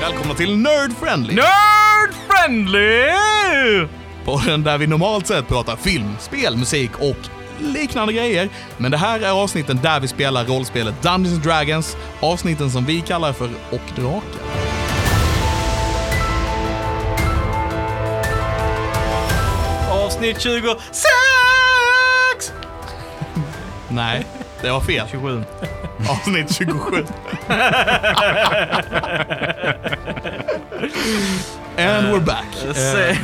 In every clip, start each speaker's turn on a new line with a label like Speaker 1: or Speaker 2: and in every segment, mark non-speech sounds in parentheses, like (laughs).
Speaker 1: välkomna till Nerd Friendly!
Speaker 2: Nerd friendly!
Speaker 1: Podden där vi normalt sett pratar film, spel, musik och liknande grejer. Men det här är avsnitten där vi spelar rollspelet Dungeons and Dragons, avsnitten som vi kallar för Och Draken.
Speaker 2: Avsnitt 26!
Speaker 1: Nej, det var fel.
Speaker 2: 27.
Speaker 1: Avsnitt 27. And we're back.
Speaker 2: Sä-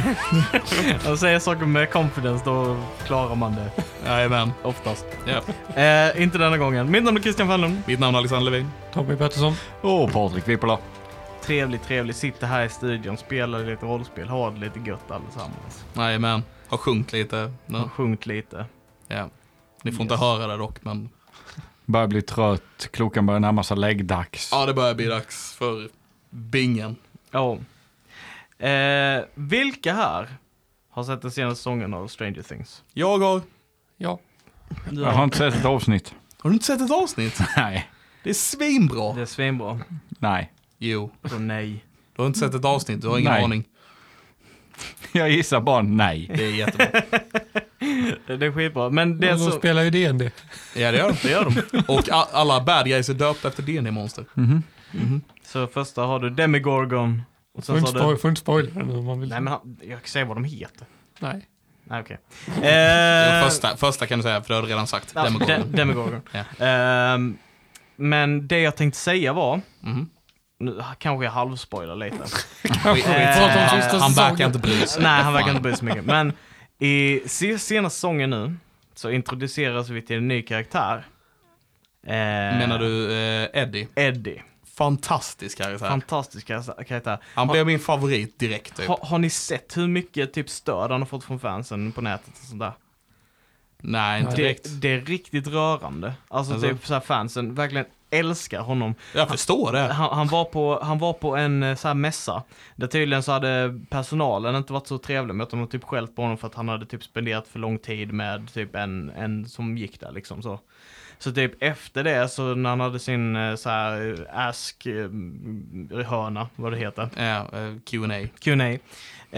Speaker 2: (laughs) Att säga saker med confidence, då klarar man det
Speaker 1: Jajamän.
Speaker 2: oftast.
Speaker 1: Ja.
Speaker 2: Eh, inte denna gången. Mitt namn är Christian Fernlund.
Speaker 1: Mitt namn är Alexander Levin.
Speaker 3: Tommy Pettersson. Och Patrik Wippola.
Speaker 2: Trevligt, trevligt. Sitter här i studion, spelar lite rollspel, har det lite gött allesammans.
Speaker 1: Jajamän. Har sjunkit lite nu.
Speaker 2: Har Sjungt lite.
Speaker 1: Ja. Ni får inte höra det dock, men
Speaker 3: Börjar bli trött, klockan börjar närma sig läggdags.
Speaker 1: ja, det börjar bli dags för bingen.
Speaker 2: Ja. Eh, vilka här har sett den senaste säsongen av Stranger Things?
Speaker 1: Jag har...
Speaker 3: Ja. Jag har inte sett ett (laughs) avsnitt.
Speaker 1: Har du inte sett ett avsnitt?
Speaker 3: Nej.
Speaker 1: Det är svinbra.
Speaker 2: Det är svinbra.
Speaker 3: Nej.
Speaker 1: Jo,
Speaker 2: Så nej.
Speaker 1: du har inte sett ett avsnitt, du har ingen
Speaker 3: Nej.
Speaker 1: aning.
Speaker 3: Jag gissar bara nej.
Speaker 1: Det är jättebra.
Speaker 2: Det det är skitbra. Men det
Speaker 4: Det
Speaker 2: är
Speaker 4: de
Speaker 2: så...
Speaker 4: spelar ju D&D.
Speaker 1: Ja, det gör de.
Speaker 2: Det gör de.
Speaker 1: Och a- alla bad guys är döpta efter D&D-monster.
Speaker 3: Mhm.
Speaker 2: Så första har du Demigorgon. Och
Speaker 4: Får
Speaker 2: sen
Speaker 4: inte,
Speaker 2: så har
Speaker 4: spoil,
Speaker 2: du...
Speaker 4: får inte spoila den om man vill.
Speaker 2: Nej men han... jag kan säga vad de heter.
Speaker 4: Nej.
Speaker 2: Nej okej.
Speaker 1: (laughs) Det är
Speaker 2: Eh,
Speaker 1: Första, första kan du säga, för det har du redan sagt.
Speaker 2: ja,
Speaker 1: Demogorgon.
Speaker 2: De- Demogorgon.
Speaker 1: (laughs) Ja.
Speaker 2: Ehm, men det jag tänkte säga var,
Speaker 1: Mhm.
Speaker 2: nu kanske jag halvspoilar lite.
Speaker 1: (laughs) Skit-
Speaker 2: pratar om sista
Speaker 1: Han, han verkar
Speaker 4: säsongen.
Speaker 1: inte bry sig.
Speaker 2: Nej, han verkar
Speaker 1: Fan.
Speaker 2: inte bry sig så mycket. Men i se- senaste säsongen nu så introduceras vi till en ny karaktär. Eh,
Speaker 1: Menar du eh, Eddie?
Speaker 2: Eddie.
Speaker 1: Fantastisk karaktär.
Speaker 2: Fantastisk karaktär- karaktär.
Speaker 1: han blev min favorit direkt typ.
Speaker 2: Ha, har ni sett hur mycket typ stöd han har fått från fansen på nätet och sånt där?
Speaker 1: Nej, inte direkt.
Speaker 2: Det, det är riktigt rörande. Alltså,
Speaker 1: Alltså?
Speaker 2: typ så här fansen verkligen älskar honom.
Speaker 1: Jag förstår det.
Speaker 2: Han, han, var på, han var på en eh, så här mässa. Där tydligen så hade personalen inte varit så trevlig med att de hade typ skällt på honom för att han hade typ spenderat för lång tid med typ en, en som gick där liksom så. Så typ efter det så när han hade sin eh, så här eh, ask eh, hörna, vad det heter.
Speaker 1: Ja, eh, Q&A.
Speaker 2: Q&A.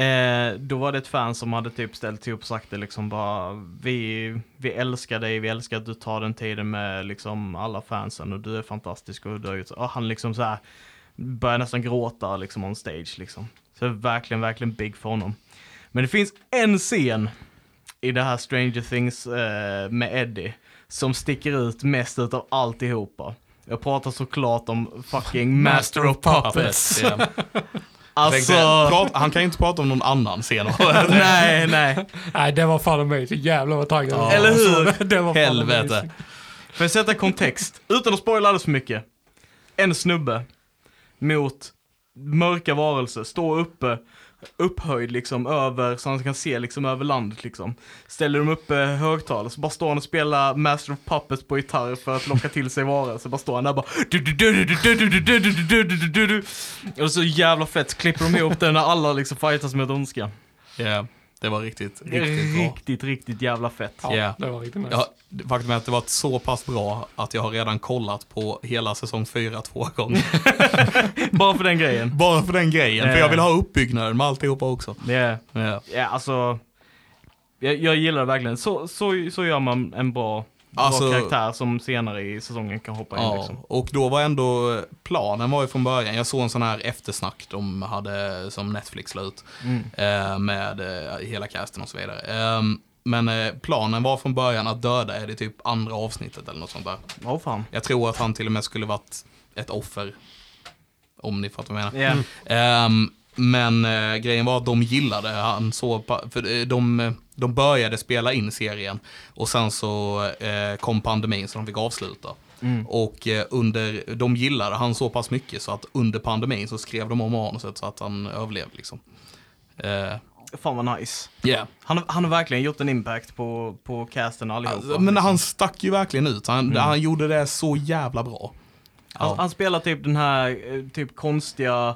Speaker 2: Eh, då var det ett fan som hade typ ställt sig upp och sagt det liksom bara vi, vi älskar dig, vi älskar att du tar den tiden med liksom alla fansen och du är fantastisk och du har gjort så. Och han liksom så här börjar nästan gråta liksom on stage liksom. Så verkligen, verkligen big för honom. Men det finns en scen i det här Stranger Things eh, med Eddie som sticker ut mest utav alltihopa. Jag pratar såklart om fucking Master of Puppets.
Speaker 1: Ja.
Speaker 2: Alltså...
Speaker 1: Tänkte, prat, han kan ju inte prata om någon annan scen.
Speaker 2: (laughs) nej, nej.
Speaker 4: Nej, det var fan amazing. Jävlar vad taggad jag var.
Speaker 2: Eller hur?
Speaker 4: (laughs) Det var fan
Speaker 1: Helvete.
Speaker 4: amazing.
Speaker 2: För att sätta kontext, utan att spoila alldeles för mycket. En snubbe mot mörka varelser, står uppe, upphöjd liksom över, så han kan se liksom över landet liksom. Ställer de upp eh, högtalare, så bara står han och spelar Master of Puppets på gitarr för att locka till sig varelser. Bara står han där bara... du, du, du, du, du, du, du, du, du, du, du, du, du, du. Och så jävla fett klipper de ihop det när alla liksom fightas med ondska.
Speaker 1: Ja, det var riktigt,
Speaker 2: Det är
Speaker 1: riktigt bra.
Speaker 2: Riktigt, riktigt jävla fett.
Speaker 4: Ja,
Speaker 1: Yeah.
Speaker 4: det var riktigt nice.
Speaker 1: Ja, det- faktum är att det var så pass bra att jag har redan kollat på hela säsong 4 två gånger. (laughs)
Speaker 2: (laughs) Bara för den grejen.
Speaker 1: Bara för den grejen, för
Speaker 2: Eh.
Speaker 1: jag vill ha uppbyggnaden med alltihopa också.
Speaker 2: Det är...
Speaker 1: Ja.
Speaker 2: Ja, alltså. Jag, jag gillar det verkligen. Så, så, så gör man en bra,
Speaker 1: Alltså-
Speaker 2: bra karaktär som senare i säsongen kan hoppa in
Speaker 1: Ja,
Speaker 2: liksom.
Speaker 1: och då var ändå eh, planen var ju från början, jag såg en sån här eftersnack de hade som Netflix la ut
Speaker 2: Mm.
Speaker 1: eh, med eh, hela casten och så vidare. Ehm, men eh, planen var från början att döda är det typ andra avsnittet eller något sånt där.
Speaker 2: Åh fan.
Speaker 1: Jag tror att han till och med skulle varit ett offer. Om ni fattar vad jag menar.
Speaker 2: Ja.
Speaker 1: Ehm, men eh, grejen var att de gillade han så pa- för eh, de, eh, de började spela in serien och sen så eh, kom pandemin så de fick avsluta.
Speaker 2: Mm.
Speaker 1: Och eh, under, de gillade han så pass mycket så att under pandemin så skrev de om manuset så att han överlevde liksom. Eh,
Speaker 2: Fan vad nice.
Speaker 1: yeah.
Speaker 2: Han, har- han har verkligen gjort en impact på, på casten allihopa. Liksom.
Speaker 1: alltså, men han stack ju verkligen ut, han,
Speaker 2: Mm.
Speaker 1: han gjorde det så jävla bra.
Speaker 2: Alltså, han, han spelar typ den här eh, typ konstiga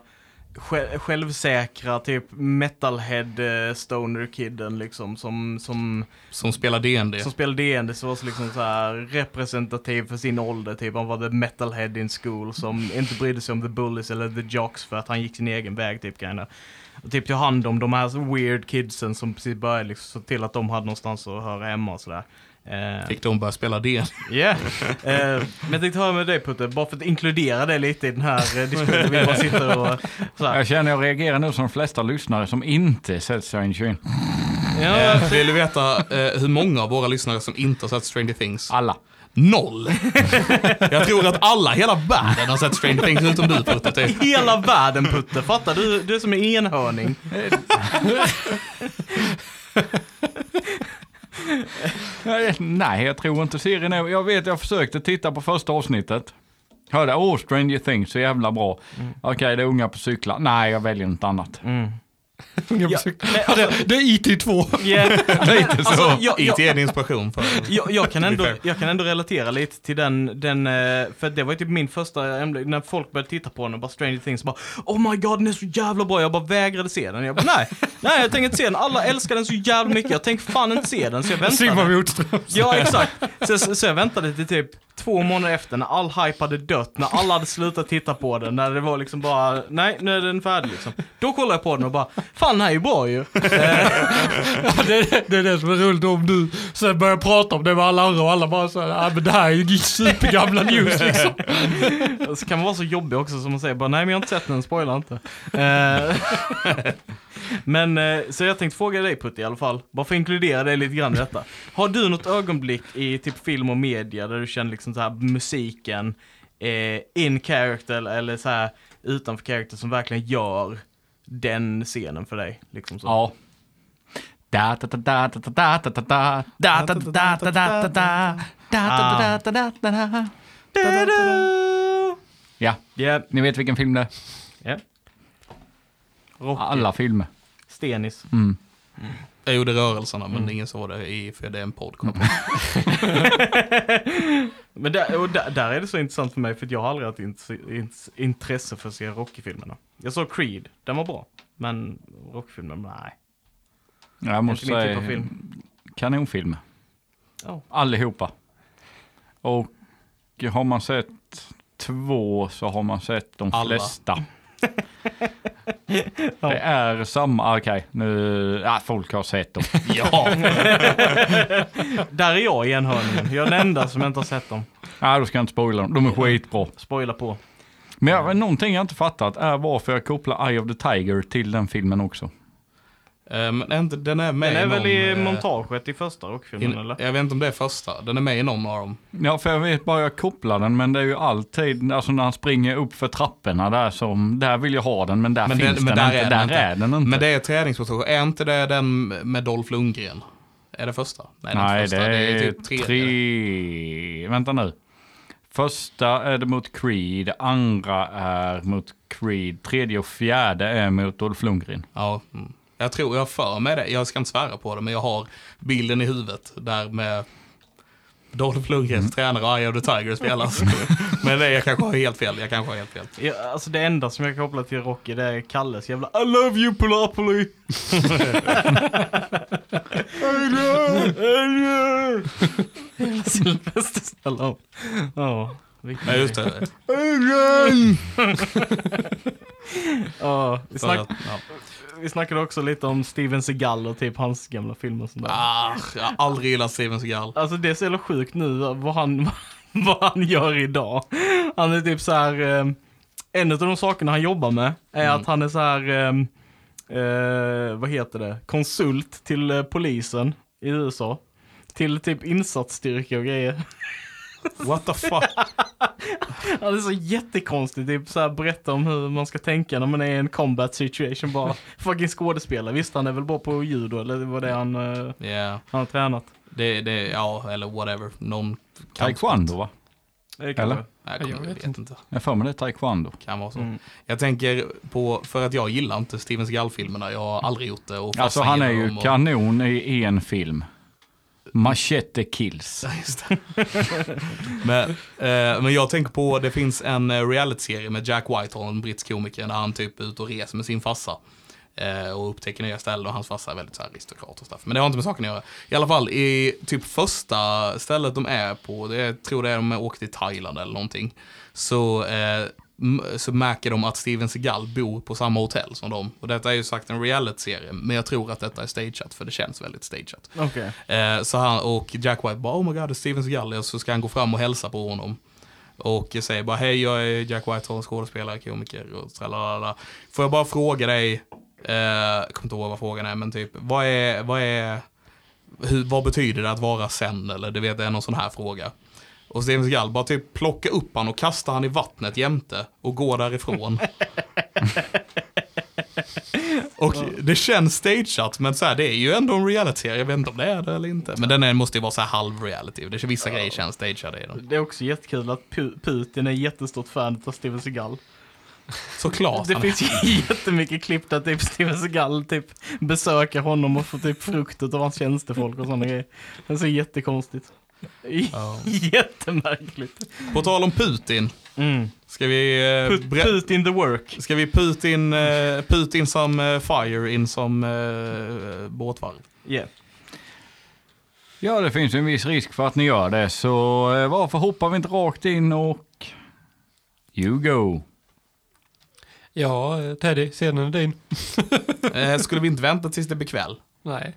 Speaker 2: sj- självsäkra typ metalhead eh, stoner kidden liksom som, som,
Speaker 1: Som spelar D&D.
Speaker 2: som spelade DND så var så liksom så här representativ för sin ålder typ. Han var the metalhead in school som inte brydde sig om the bullies eller the jocks för att han gick sin egen väg typ kinda. Och typ tog hand om de här så weird kidsen som precis började liksom så till att de hade någonstans att höra hemma och sådär. Eh,
Speaker 1: Fick de börja spela D&D.
Speaker 2: Ja, eh, men jag tänkte höra med dig Putte, bara för att inkludera det lite i den här eh, diskussionen vi bara sitter och så här.
Speaker 3: Jag känner jag reagerar nu som de flesta lyssnare som inte sett Strange Things.
Speaker 2: Ja,
Speaker 1: (laughs) Vill du veta eh, hur många av våra lyssnare som inte har sett Stranger Things?
Speaker 3: Alla.
Speaker 1: Noll! (laughs) Jag tror att alla, hela världen har sett Stranger Things utom du Putte typ.
Speaker 2: hela världen Putte, fattar du? Du är som en enhörning.
Speaker 3: Eh, Nej, jag tror inte serien är... Jag vet, jag försökte titta på första avsnittet. Hörde, åh, Stranger Things, så jävla bra. Okej, det är unga på cyklar. Nej, jag väljer något annat.
Speaker 4: Ja.
Speaker 2: alltså-
Speaker 1: Det, det är IT2.
Speaker 2: Ja,
Speaker 3: Lite så.
Speaker 2: alltså, jag,
Speaker 1: IT
Speaker 2: jag,
Speaker 1: är en inspiration för
Speaker 2: jag, jag, kan ändå, jag kan ändå relatera lite till den, den eh, för det var ju typ min första, ämne, när folk började titta på den och bara Stranger Things bara Oh my god den är så jävla bra, jag bara vägrade se den. Jag bara nej, nej jag tänker inte se den, alla älskar den så jävla mycket, jag tänker fan inte se den så jag väntade.
Speaker 4: Simon Motströms.
Speaker 2: Ja, exakt. Så, så, så jag väntade till typ två månader efter när all hype hade dött, när alla hade slutat titta på den, när det var liksom bara, nej, nu är den färdig liksom. Då kollade jag på den och bara, fan den här är ju bra ju.
Speaker 4: (laughs) Ja, det, är- det är det som är roligt om du sen börjar prata om det med alla andra och alla bara såhär, ah, men det här är
Speaker 2: (laughs)
Speaker 4: ju supergamla news liksom.
Speaker 2: Och Så Alltså, kan man vara så jobbig också som man säger, bara, nej men jag har inte sett den, spoila inte. Eh, (laughs) men, eh, så jag tänkte fråga dig Putte i alla fall, bara för att inkludera dig lite grann i detta. Har du något ögonblick i typ film och media där du känner liksom så här musiken, eh, in character eller så här utanför character som verkligen gör den scenen för dig? Liksom så.
Speaker 3: Ja. Da da da da da da da da da da da da da da da da da da da da da da da da
Speaker 2: Du-du!
Speaker 3: Ja,
Speaker 2: Ja,
Speaker 3: ni vet vilken film det är?
Speaker 2: ja. Rock,
Speaker 3: Alla filmer.
Speaker 2: Stenis.
Speaker 1: Jag gjorde rörelserna men ingen såg det i, för det är en podcast.
Speaker 2: Men där, och där, där är det så intressant för mig för att jag har aldrig haft int- int- intresse för att se Rocky-filmerna. Jag såg Creed, den var bra. Men Rocky-filmen, nej.
Speaker 3: Jag måste
Speaker 2: Inte min typ av
Speaker 3: säga,
Speaker 2: film.
Speaker 3: kanonfilmer.
Speaker 2: Ja.
Speaker 3: Allihopa. Och har man sett två så har man sett de
Speaker 1: Alla.
Speaker 3: (laughs) flesta. Det är samma, ah, okej, nu, ja, folk har sett dem.
Speaker 1: Ja,
Speaker 2: Där är jag i enhörningen. Jag är den enda som inte har sett dem.
Speaker 3: Nej, Ah, då ska jag inte spoila dem, de är skitbra.
Speaker 2: Spoila på.
Speaker 3: Men jag, någonting jag inte fattat är varför jag kopplar Eye of the Tiger till den filmen också.
Speaker 1: Eh, men är inte- den är med
Speaker 2: Den är
Speaker 1: i någon,
Speaker 2: väl i
Speaker 1: eh,
Speaker 2: montaget i första Rocky-filmen
Speaker 1: in-
Speaker 2: eller?
Speaker 1: Jag vet inte om det är första. Den är med i någon av dem.
Speaker 3: Ja, för jag vet bara jag kopplar den, men det är ju alltid, alltså när han springer upp för trapporna där som, där vill jag ha den, men där
Speaker 1: Men
Speaker 3: finns
Speaker 1: den- men
Speaker 3: den
Speaker 1: där
Speaker 3: inte.
Speaker 1: är
Speaker 3: där
Speaker 1: den inte.
Speaker 3: är den inte.
Speaker 1: Men det är träningsmotorer. Är inte det den med Dolph Lundgren? Är det första? Nej, inte
Speaker 3: Nej, det
Speaker 1: första.
Speaker 3: är,
Speaker 1: typ
Speaker 3: tre.
Speaker 1: tredje.
Speaker 3: Vänta nu. Första är det mot Creed, andra är mot Creed, tredje och fjärde är mot Dolph Lundgren.
Speaker 1: Ja, mm. jag tror jag har för mig det. Jag ska inte svära på det, men jag har bilden i huvudet där med Dolph Lundgrens tränare och Eye of the Tiger spelas. men det, jag kanske har helt fel. Jag kanske har helt fel.
Speaker 2: Ja, alltså det enda som jag kopplar till Rocky det är Kalles jävla I love you Polapoli! I love you! Sylvester Stallone. Ja, vilken-
Speaker 1: Men just det.
Speaker 2: Ja, vi,
Speaker 1: För att,
Speaker 2: snack,
Speaker 1: ja.
Speaker 2: vi snackade också lite om Steven Seagal och typ hans gamla filmer och sånt där.
Speaker 1: ah, jag har aldrig gillat Steven Seagal.
Speaker 2: Alltså det är så jävla sjukt nu vad han, (laughs) vad han gör idag. Han är typ så här. eh, en av de sakerna han jobbar med är
Speaker 1: Mm.
Speaker 2: att han är så här. eh, eh, vad heter det, konsult till eh, polisen i USA. Till typ insatsstyrka och grejer. (laughs)
Speaker 1: What the fuck?
Speaker 2: Han är så jättekonstig, typ så här berätta om hur man ska tänka när man är i en combat
Speaker 1: (laughs)
Speaker 2: situation bara. Fucking skådespelare, visst han är väl bra på judo eller vad det är han, eh,
Speaker 1: Yeah.
Speaker 2: han har tränat.
Speaker 1: Det, det, ja, eller whatever. Någon
Speaker 3: Taekwondo va?
Speaker 2: Det kan
Speaker 3: Eller?
Speaker 2: vara.
Speaker 1: Nej, jag,
Speaker 4: Jag
Speaker 1: kommer, jag
Speaker 4: vet
Speaker 1: vet inte.
Speaker 3: Jag har för mig det är taekwondo.
Speaker 1: Kan vara så.
Speaker 2: Mm.
Speaker 1: Jag tänker på, för att jag gillar inte Steven Seagal-filmerna. Jag har aldrig gjort det. Och
Speaker 3: Alltså
Speaker 1: farsan
Speaker 3: han är
Speaker 1: gillar
Speaker 3: ju
Speaker 1: dem och-
Speaker 3: kanon i en film. Machete kills.
Speaker 1: Just det. (laughs) men, eh, men jag tänker på, det finns en eh, reality-serie med Jack Whitehall, en brittisk komiker, där han typ är ute och reser med sin farsa. Eh, och upptäcker nya ställen och hans farsa är väldigt så här, aristokrat och sådär. Men det har inte med saken att göra. I alla fall, i typ första stället de är på, det, jag tror det är de åker till Thailand eller någonting. Så, eh, m- så märker de att Steven Seagal bor på samma hotell som dem. Och detta är ju sagt en reality-serie, men jag tror att detta är stageat för det känns väldigt stageat.
Speaker 2: Okej.
Speaker 1: Eh, så han och Jack White bara oh my god, det är Steven Seagal. Och så ska han gå fram och hälsa på honom. Och säger bara hej, jag är Jack Whitehall, skådespelare, komiker och tralalala. Får jag bara fråga dig, eh, jag kommer inte ihåg vad frågan är, men typ vad är, vad är, hur, vad betyder det att vara sen? Eller du vet, det är någon sån här fråga. Och Steven Seagal bara typ plocka upp han och kasta han i vattnet jämte och gå
Speaker 2: (laughs)
Speaker 1: därifrån. Och det känns stageat, men så här, det är ju ändå en reality. Jag vet inte om det är det eller inte. Men den är, måste ju vara så här halv reality. Det är vissa grejer känns stageade i den.
Speaker 2: Det är också jättekul att Pu- Putin är jättestort fan av Steven Seagal.
Speaker 1: Såklart.
Speaker 2: Det
Speaker 1: han-
Speaker 2: finns ju (laughs) jättemycket klipp där typ Steven Seagal typ besöker honom och får typ frukt av hans tjänstefolk och sådana grejer. Det är så jättekonstigt.
Speaker 1: Ja.
Speaker 2: (laughs) Jättemärkligt.
Speaker 1: På tal om Putin.
Speaker 2: Mm.
Speaker 1: Ska vi... Eh,
Speaker 2: Put,
Speaker 1: bre-
Speaker 2: put in the work.
Speaker 1: ska vi Putin, eh, Putin som eh, fire in som eh, båtvarv?
Speaker 2: Yeah.
Speaker 3: Ja, det finns en viss risk för att ni gör det, så eh, varför hoppar vi inte rakt in och... You go.
Speaker 4: Ja, eh, Teddy, scenen är din.
Speaker 1: Eh, skulle vi inte vänta tills det blir kväll?
Speaker 4: Nej.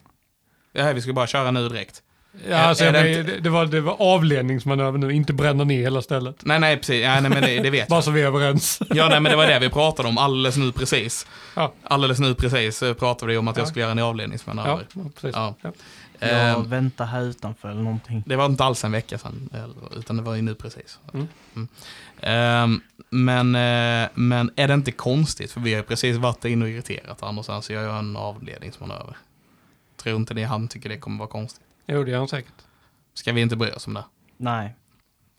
Speaker 1: Eh, vi ska bara köra nu direkt.
Speaker 4: Ja, alltså,
Speaker 1: är
Speaker 4: jag
Speaker 1: det
Speaker 4: menar,
Speaker 1: inte-
Speaker 4: det, det, var, det var avledningsmanöver nu, inte bränna ner hela stället.
Speaker 1: Nej, nej, precis. Ja, nej, men det, det vet jag.
Speaker 4: Bara så vi är överens.
Speaker 1: Ja, nej, men det var det vi pratade om alldeles nu precis.
Speaker 4: Ja.
Speaker 1: Alldeles nu precis eh, pratade vi om att jag skulle göra en avledningsmanöver.
Speaker 4: Ja, precis.
Speaker 1: Ja.
Speaker 4: Ja.
Speaker 2: Jag
Speaker 1: Ehm,
Speaker 2: väntar här utanför eller någonting.
Speaker 1: det var inte alls en vecka sedan, eller- utan det var ju nu precis.
Speaker 4: Mm.
Speaker 1: Mm. Ehm, men, eh, men är det inte konstigt? För vi har ju precis varit inne och irriterat varandra, så alltså jag gör en avledningsmanöver. Tror inte ni han tycker det kommer vara konstigt?
Speaker 4: Jo, det gör han säkert.
Speaker 1: Ska vi inte bry oss om det?
Speaker 2: Nej.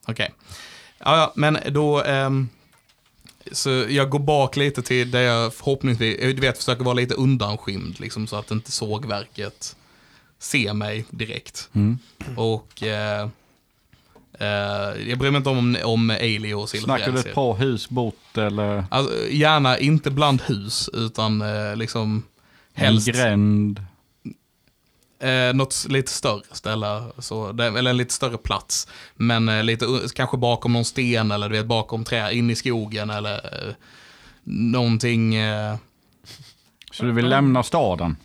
Speaker 1: Okej. Ja, ja, men då... ehm, så jag går bak lite till där jag förhoppningsvis, eh, du vet, försöker vara lite undanskymd liksom så att inte sågverket ser mig direkt.
Speaker 3: Mm.
Speaker 1: Och eh, eh, jag bryr mig inte om, om Ailey och
Speaker 3: Snackar du
Speaker 1: Silverens.
Speaker 3: ett par hus bort eller
Speaker 1: Alltså, gärna inte bland hus utan eh, liksom helst
Speaker 3: en gränd?
Speaker 1: eh, något lite större ställe, så, där- eller en lite större plats. Men eh, lite, u- kanske bakom någon sten eller du vet, bakom träd, in i skogen eller eh, någonting. Eh,
Speaker 3: Så du vill lämna staden?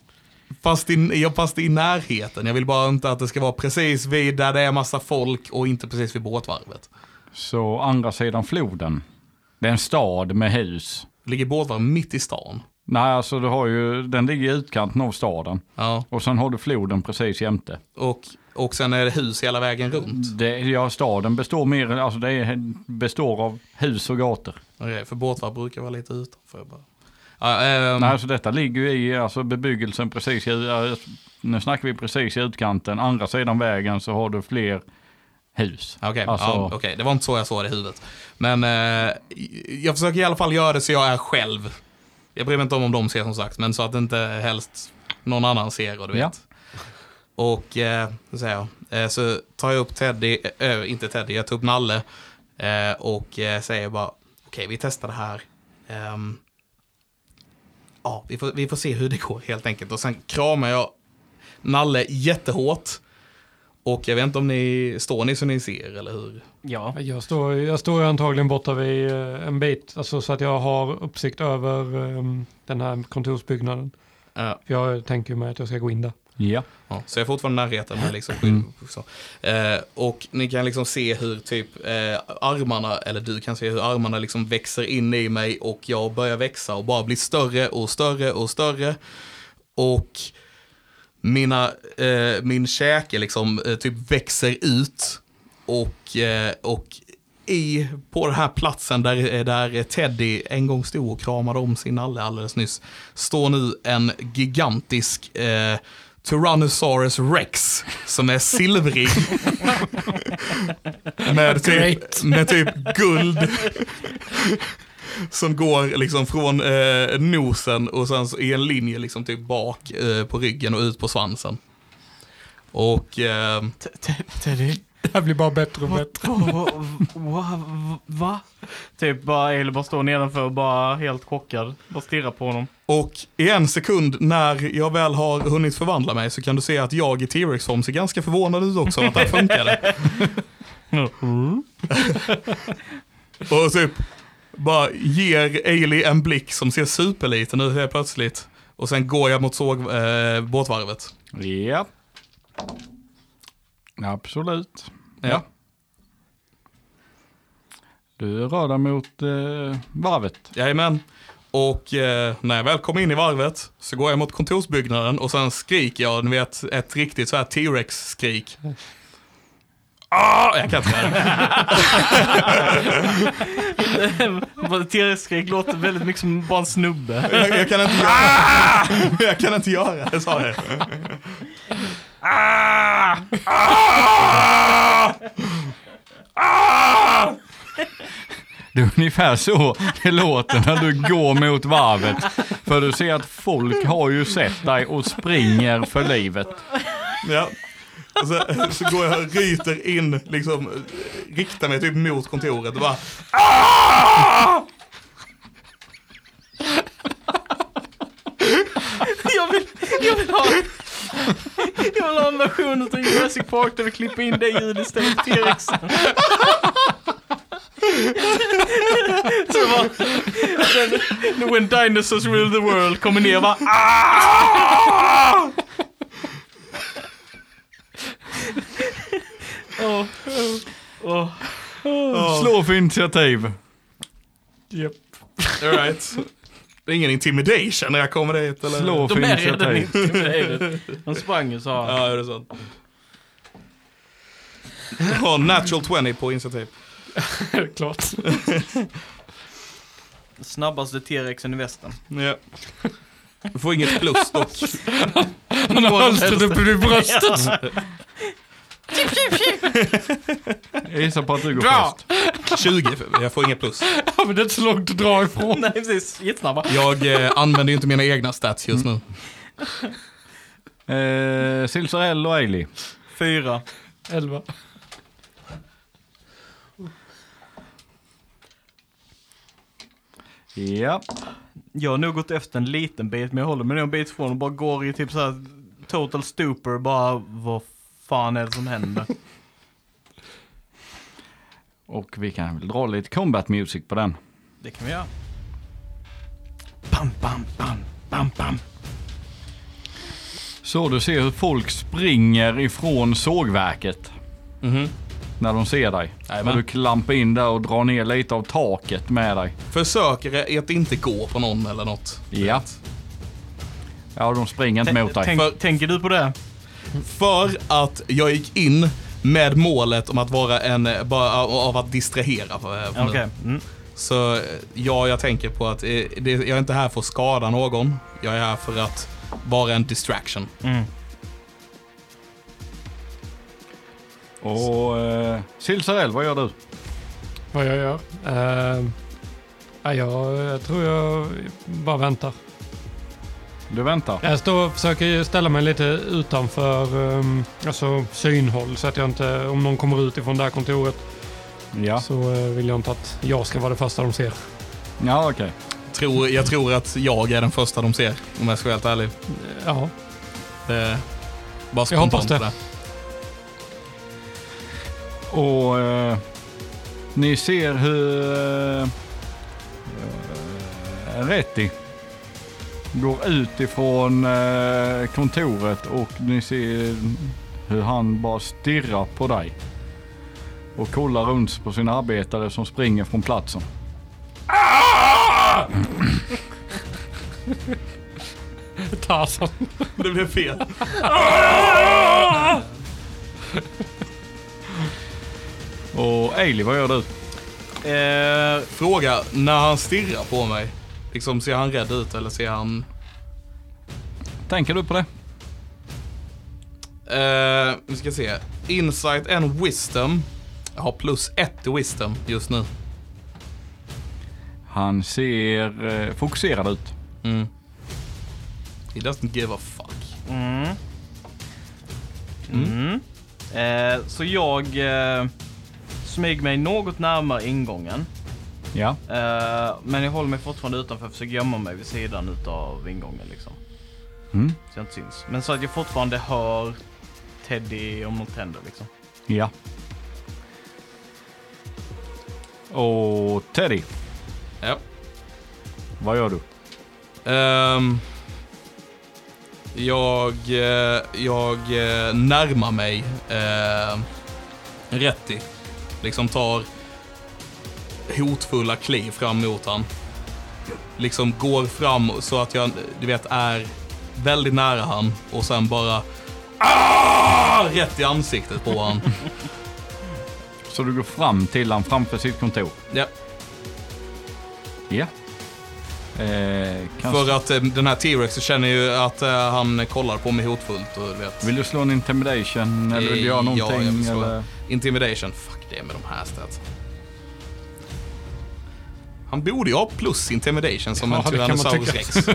Speaker 1: fast, i, ja, fast i närheten. Jag vill bara inte att det ska vara precis vid där det är massa folk och inte precis vid båtvarvet.
Speaker 3: Så andra sidan floden. Det är en stad med hus.
Speaker 1: Ligger båtvarvet mitt i stan?
Speaker 3: Nej, alltså du har ju, den ligger i utkanten av staden.
Speaker 1: Ja,
Speaker 3: Och sen har du floden precis jämte.
Speaker 1: och, och sen är det hus hela vägen runt.
Speaker 3: Det, ja, staden består mer, alltså det är, består av hus och gator.
Speaker 1: Okej, för båtvarv brukar vara lite utanför bara. Ja, ehm,
Speaker 3: Nej, alltså detta ligger ju i alltså bebyggelsen precis, i, ja, nu snackar vi precis i utkanten. Andra sidan vägen så har du fler hus.
Speaker 1: Okej,
Speaker 3: Alltså-
Speaker 1: ja, okej. det var inte så jag såg det i huvudet. Men eh, jag försöker i alla fall göra det så jag är själv. Jag bryr mig inte om om de ser som sagt, men så att inte helst någon annan ser och du vet.
Speaker 3: Ja.
Speaker 1: Och eh, så, säger jag, eh, så tar jag upp Teddy, eh, inte Teddy, jag tar upp Nalle eh, och eh, säger bara okej, vi testar det här. Ehm, ja, vi får, vi får se hur det går helt enkelt. Och sen kramar jag Nalle jättehårt. Och jag vet inte om ni, står ni så ni ser eller hur?
Speaker 2: Ja.
Speaker 4: Jag står, jag står ju antagligen borta vid eh, en bit, alltså, så att jag har uppsikt över ehm, den här kontorsbyggnaden.
Speaker 1: Ja.
Speaker 4: För jag tänker ju mig att jag ska gå in där.
Speaker 3: Ja.
Speaker 1: Ja, så jag är fortfarande i närheten. Men liksom, så. Eh, och ni kan liksom se hur typ eh, armarna, eller du kan se hur armarna liksom växer in i mig och jag börjar växa och bara blir större och större och större. Och mina, eh, min käke liksom eh, typ växer ut och, eh, och i, på den här platsen där, eh, där Teddy en gång stod och kramade om sin nalle alldeles nyss, står nu en gigantisk eh, Tyrannosaurus rex som är silvrig. med, typ, med typ guld. Som går liksom från eh, nosen och sen så i en linje liksom typ bak eh, på ryggen och ut på svansen. Och eh,
Speaker 2: T- t- Teddy?
Speaker 4: Det här blir bara bättre och bättre.
Speaker 2: Va? va, va? Typ bara Eli bara står nedanför och bara helt chockad. Bara stirrar på honom.
Speaker 1: Och i en sekund när jag väl har hunnit förvandla mig så kan du se att jag i T-Rex-form ser ganska förvånad ut också att det här funkade. (laughs) och typ bara ger Ailey en blick som ser superliten ut helt plötsligt. Och sen går jag mot såg, eh, båtvarvet.
Speaker 3: Ja. Absolut.
Speaker 1: Ja.
Speaker 3: Ja. Du rör dig mot eh, varvet.
Speaker 1: Jajamän. Och eh, när jag väl kommer in i varvet så går jag mot kontorsbyggnaden och sen skriker jag, ni vet, ett riktigt så här T-Rex-skrik. Ah, jag kan inte göra det.
Speaker 2: T-rex-skrik låter väldigt mycket som bara en snubbe.
Speaker 1: Jag, jag kan inte göra det. (laughs) Jag kan inte göra det, sa jag. Ah! Ah! Ah!
Speaker 3: Det är ungefär så det låter när du går mot varvet. För du ser att folk har ju sett dig och springer för livet.
Speaker 1: Ja. Och så, så går jag och ryter in, liksom, eh, riktar mig typ mot kontoret och bara ah!
Speaker 2: Jag vill, jag vill ha... Jag vill ha en version av Jurassic Park där vi klipper in det ljudet istället för T-rexen. Så bara... When, when dinosaurs rule the world kommer ner och bara... "Ah!" Åh, åh.
Speaker 3: Slå för initiativ.
Speaker 4: Japp.
Speaker 1: All right. Det är ingen intimidation när jag kommer dit eller?
Speaker 3: Slå för
Speaker 2: De är redan
Speaker 3: initiativ.
Speaker 2: intimiderade. De sprang ju sa han.
Speaker 1: Ja, är det sant? Oh, natural 20 på initiativ.
Speaker 4: Klart.
Speaker 2: Snabbaste T-rexen i västen.
Speaker 1: Ja. Du får inget plus dock.
Speaker 3: (laughs)
Speaker 4: Han har hölstret uppe vid bröstet.
Speaker 3: Jag gissar på att du går
Speaker 4: Bra.
Speaker 3: först.
Speaker 1: 20, jag får inget plus.
Speaker 4: Ja, men det är inte så långt att dra ifrån.
Speaker 2: Nej precis, jättesnabba.
Speaker 1: Jag eh, använder ju inte mina egna stats just nu.
Speaker 3: Eh, Silsarell och Ailey.
Speaker 2: Fyra.
Speaker 4: Elva.
Speaker 3: Ja.
Speaker 2: Jag har nog gått efter en liten bit, men jag håller mig nog en bit ifrån och bara går i typ så här total stupor. Bara, vad fan är det som händer?
Speaker 3: Och vi kan väl dra lite combat music på den.
Speaker 2: det kan vi göra. Bam, bam, bam, bam, bam.
Speaker 3: Så du ser hur folk springer ifrån sågverket.
Speaker 2: Mhm.
Speaker 3: När de ser dig.
Speaker 1: Jajamän.
Speaker 3: Och du klampar in där och drar ner lite av taket med dig.
Speaker 1: Försöker att inte gå på någon eller något.
Speaker 3: Ja. Ja, de springer inte mot dig.
Speaker 2: Tänk,
Speaker 1: För-
Speaker 2: tänker du på det?
Speaker 1: För att jag gick in med målet om att vara en, bara av att distrahera. eh,
Speaker 2: Okej.
Speaker 1: från det.
Speaker 2: Mm.
Speaker 1: Så eh, ja, jag tänker på att eh, det, jag är inte här för att skada någon. Jag är här för att vara en distraction.
Speaker 2: Mm.
Speaker 3: Och eh, Silsarell, vad gör du?
Speaker 4: Vad jag gör? Ehm, ja, jag, jag tror jag bara väntar.
Speaker 3: Du väntar.
Speaker 4: Jag står och försöker ju ställa mig lite utanför um, alltså synhåll så att jag inte, om någon kommer ut ifrån det här kontoret
Speaker 3: Ja,
Speaker 4: så eh, vill jag inte att jag ska vara det första de ser.
Speaker 3: ja okej.
Speaker 1: Tror, jag tror att jag är den första de ser, om jag ska vara helt ärlig.
Speaker 4: Ja,
Speaker 1: Eh, bara
Speaker 4: Jag hoppas
Speaker 1: spontant
Speaker 4: det.
Speaker 1: sådär.
Speaker 3: Och eh, ni ser hur eh, eh, Retti går ut ifrån eh, kontoret och ni ser hur han bara stirrar på dig. Och kollar runt på sina arbetare som springer från platsen.
Speaker 4: (laughs) Tarzan.
Speaker 1: Det blev fel.
Speaker 3: Och Ailey, vad gör du?
Speaker 2: Eh,
Speaker 1: Fråga, när han stirrar på mig, liksom, ser han rädd ut eller ser han...
Speaker 3: Tänker du på det?
Speaker 1: Eh, vi ska se. Insight and wisdom. Jag har plus ett i wisdom just nu.
Speaker 3: Han ser eh, fokuserad ut.
Speaker 1: Mm. He doesn't give a fuck.
Speaker 2: mm. Mm. Eh, så jag eh, smyger mig något närmare ingången.
Speaker 3: Ja.
Speaker 2: Eh, men jag håller mig fortfarande utanför, försöker gömma mig vid sidan utav ingången liksom.
Speaker 3: Mm.
Speaker 2: Så jag inte syns. Men så att jag fortfarande hör Teddy om något händer liksom.
Speaker 3: Ja. Och Teddy,
Speaker 1: Ja.
Speaker 3: vad gör du?
Speaker 1: Ehm, jag, eh, jag eh, närmar mig uh, Rätti. Liksom tar hotfulla kliv fram mot han. Liksom går fram så att jag, du vet, är väldigt nära han och sen bara "Ah!" rätt i ansiktet på han.
Speaker 3: Så du går fram till han framför sitt kontor?
Speaker 1: Ja.
Speaker 3: Ja. Eh, kanske...
Speaker 1: För att eh, den här T-Rexen känner ju att eh, han kollar på mig hotfullt och du vet.
Speaker 3: Vill du slå en intimidation eller vill du göra
Speaker 1: Eh, ja, jag
Speaker 3: någonting?
Speaker 1: vill slå.
Speaker 3: eller?
Speaker 1: Intimidation, fuck det med de här statsen. Han borde ju ha plus intimidation som
Speaker 4: Ja,
Speaker 1: en
Speaker 4: det kan man
Speaker 1: Tyrannosaurus rex.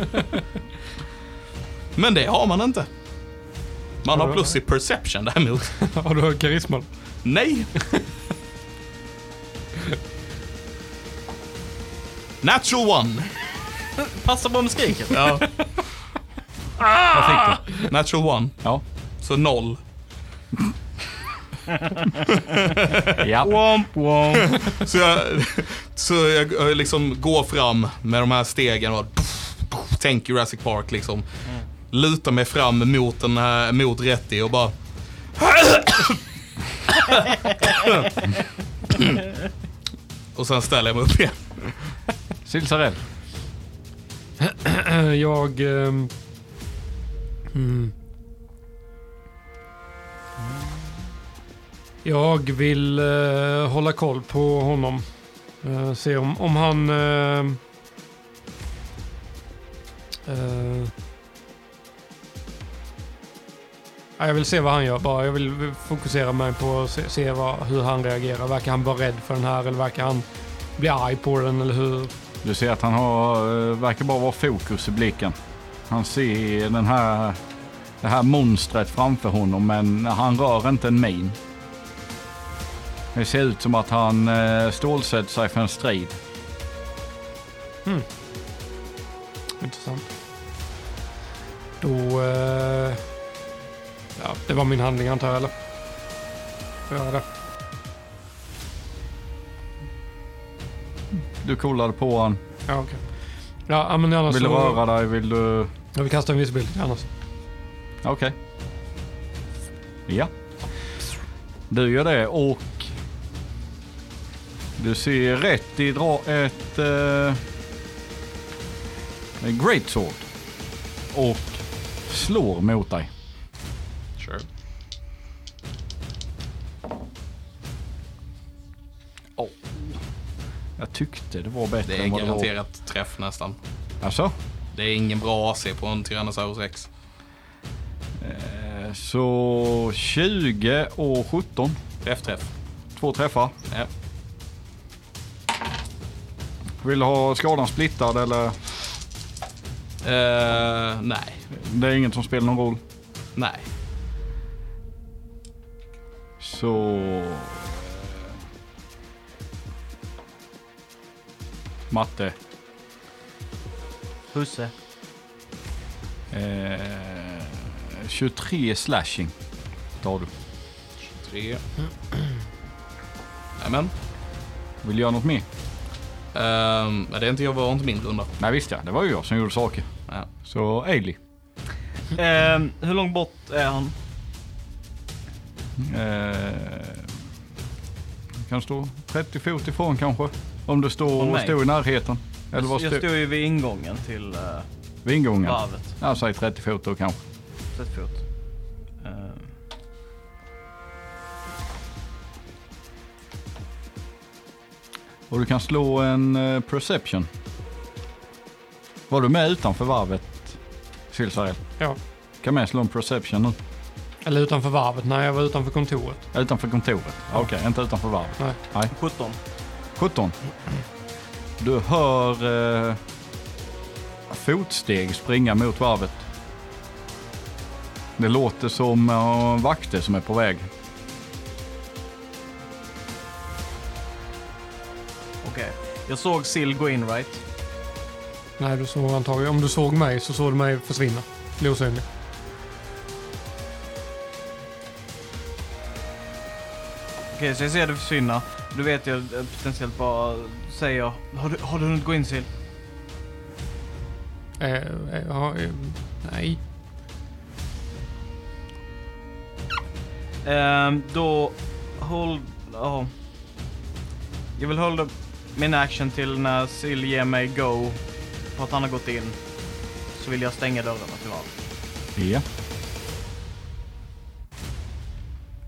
Speaker 3: (laughs)
Speaker 1: Men det har man inte. Man har plus i perception däremot.
Speaker 4: Har du hög karisma?
Speaker 3: (laughs)
Speaker 1: Nej! Natural one!
Speaker 2: Passa på med skriket!
Speaker 1: Ja.
Speaker 3: Vad fick du?
Speaker 1: Natural one,
Speaker 3: Ja.
Speaker 1: så noll.
Speaker 3: ja.
Speaker 2: Womp womp.
Speaker 1: Så jag, så jag eh, liksom går fram med de här stegen och pff, pff, tänk Jurassic Park liksom. Lutar mig fram mot, den här, mot Rätti och bara... och sen ställer jag mig upp igen.
Speaker 3: Silsarell.
Speaker 4: Jag... ehm, mm. Jag vill eh, hålla koll på honom. Eh, se om, om han... ehm, eh, ja, jag vill se vad han gör bara. Jag vill fokusera mig på att se, se vad, hur han reagerar. Verkar han vara rädd för den här eller verkar han bli arg på den eller hur?
Speaker 3: Du ser att han har, eh, verkar bara vara fokus i blicken. Han ser den här, det här monstret framför honom men han rör inte en min. Det ser ut som att han eh, stålsätter sig för en strid.
Speaker 4: Intressant. Då... Eh, ja, det var min handling antar jag, eller? Får jag göra det?
Speaker 3: Du kollade på honom.
Speaker 4: Ja, okej. Ja, ja, men annars
Speaker 3: Vill du
Speaker 4: så...
Speaker 3: röra dig? Vill du...
Speaker 4: Jag vill kasta en visibild annars.
Speaker 3: Okej. Ja. Du gör det och du ser rätt i dra ett eh, en great sword och slår mot dig.
Speaker 1: Sure.
Speaker 3: Jag tyckte det var bättre
Speaker 1: Det är
Speaker 3: än vad det var.
Speaker 1: garanterat träff nästan.
Speaker 3: Alltså,
Speaker 1: Det är ingen bra AC på en Tyrannosaurus rex.
Speaker 3: eh, så 20 och 17.
Speaker 1: Träff, träff.
Speaker 3: Två träffar.
Speaker 1: Ja.
Speaker 3: Vill du ha skadan splittad eller?
Speaker 1: Eh, nej,
Speaker 3: Det är inget som spelar någon roll.
Speaker 1: nej.
Speaker 3: Så... Matte.
Speaker 2: Husse.
Speaker 3: Eh, 23 slashing tar du.
Speaker 1: Tre. Nämen.
Speaker 3: Vill du göra något mer?
Speaker 1: Ehm, men det är inte jag, var inte min runda.
Speaker 3: Nej visst ja, det var ju jag som gjorde saker.
Speaker 1: Ja.
Speaker 3: Så Ailey.
Speaker 2: Ehm, hur långt bort är han?
Speaker 3: Eh, kan stå 30 fot ifrån kanske. Om du
Speaker 2: Från
Speaker 3: står,
Speaker 2: mig?
Speaker 3: står i närheten. Eller var
Speaker 2: jag
Speaker 3: stod
Speaker 2: står ju vid ingången till eh,
Speaker 3: Vid ingången?
Speaker 2: varvet.
Speaker 3: Ja, säg 30 fot då kanske.
Speaker 2: 30 fot. Ehm.
Speaker 3: Och du kan slå en eh, perception. Var du med utanför varvet, Silsarell?
Speaker 4: Ja.
Speaker 3: Kan med slå en perception nu? Eh,
Speaker 4: Eller utanför varvet. Nej, jag var utanför kontoret.
Speaker 3: Utanför kontoret? Okej, inte utanför varvet.
Speaker 4: Nej.
Speaker 2: 17.
Speaker 3: 17. Du hör eh, fotsteg springa mot varvet. Det låter som eh, vakter som är på väg.
Speaker 2: Okej. Jag såg Sill gå in right.
Speaker 4: Nej, du såg antagligen. Om du såg mig så såg du mig försvinna. Bli osynlig.
Speaker 2: Okej, så jag ser det försvinna. Då vet jag eh, potentiellt bara säger har du, har du hunnit gå in Sill?
Speaker 4: Eh, eh, ja, eh, nej.
Speaker 2: Ehm, då hold... ja. Jag vill hålla min action till när Sill ger mig go på att han har gått in. Så vill jag stänga dörrarna tyvärr.
Speaker 3: Ja.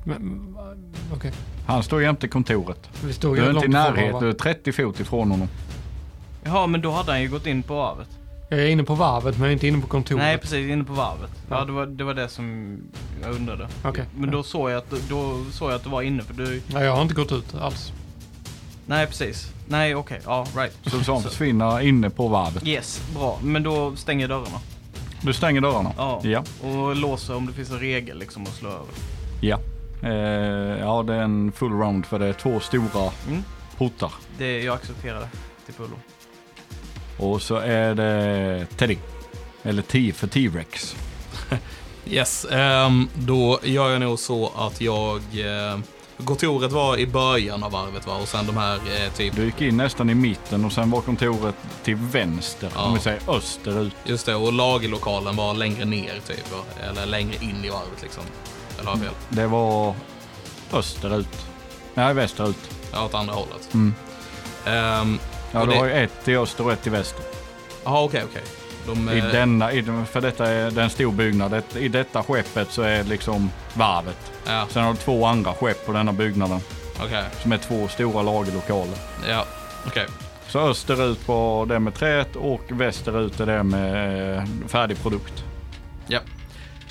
Speaker 4: Men, va- Okej.
Speaker 3: Han står jämte kontoret.
Speaker 4: Vi stod
Speaker 3: Du
Speaker 4: ju
Speaker 3: är inte i
Speaker 4: långt ifrån
Speaker 3: närhet,
Speaker 4: varandra.
Speaker 3: du är 30 fot ifrån honom.
Speaker 2: Jaha, men då hade han ju gått in på varvet.
Speaker 4: Jag är inne på varvet, men jag är inte inne på kontoret.
Speaker 2: Nej, precis. Inne på varvet. Ja,
Speaker 4: Ja.
Speaker 2: det, var, det var det som jag undrade.
Speaker 4: Okej.
Speaker 2: Men då såg jag att, då såg jag att det var inne, för du...
Speaker 4: Nej, jag har inte gått ut alls.
Speaker 2: Nej, precis. Nej, okej. Ja, right.
Speaker 3: Så så han försvinner inne på varvet.
Speaker 2: Yes, bra. Men då stänger jag dörrarna.
Speaker 3: Du stänger dörrarna?
Speaker 2: Ja.
Speaker 3: Ja.
Speaker 2: Och låser om det finns en regel liksom att slå över.
Speaker 3: Ja. Eh, ja, det är en full round för det är två stora
Speaker 2: Mm.
Speaker 3: portar.
Speaker 2: Det, jag accepterar det till fullo.
Speaker 3: Och så är det Teddy. Eller T för T-Rex.
Speaker 1: Yes, ehm, då gör jag nog så att jag... Eh, kontoret var i början av varvet va? Och sen de här eh, typ...
Speaker 3: Du gick in nästan i mitten och sen var kontoret till vänster,
Speaker 1: Ja.
Speaker 3: om vi säger österut.
Speaker 1: Just det, och lagerlokalen var längre ner typ. va? Eller längre in i varvet liksom. Eller har jag fel?
Speaker 3: Det var österut. Nej, västerut.
Speaker 1: Ja, åt andra hållet.
Speaker 3: Mm.
Speaker 1: Ehm,
Speaker 3: Ja,
Speaker 1: Och
Speaker 3: du
Speaker 1: det-
Speaker 3: har ju ett till öster och ett till väster.
Speaker 1: Jaha, okej, okej. De,
Speaker 3: I
Speaker 1: eh,
Speaker 3: denna, i, den- för detta är det är en stor byggnad. Det- I detta skeppet så är liksom varvet.
Speaker 1: Ja,
Speaker 3: Sen har du två andra skepp på denna byggnaden
Speaker 1: okej.
Speaker 3: som är två stora lagerlokaler.
Speaker 1: Ja, okej.
Speaker 3: Så österut var det med träet och västerut är det med eh, färdig produkt.
Speaker 1: Ja.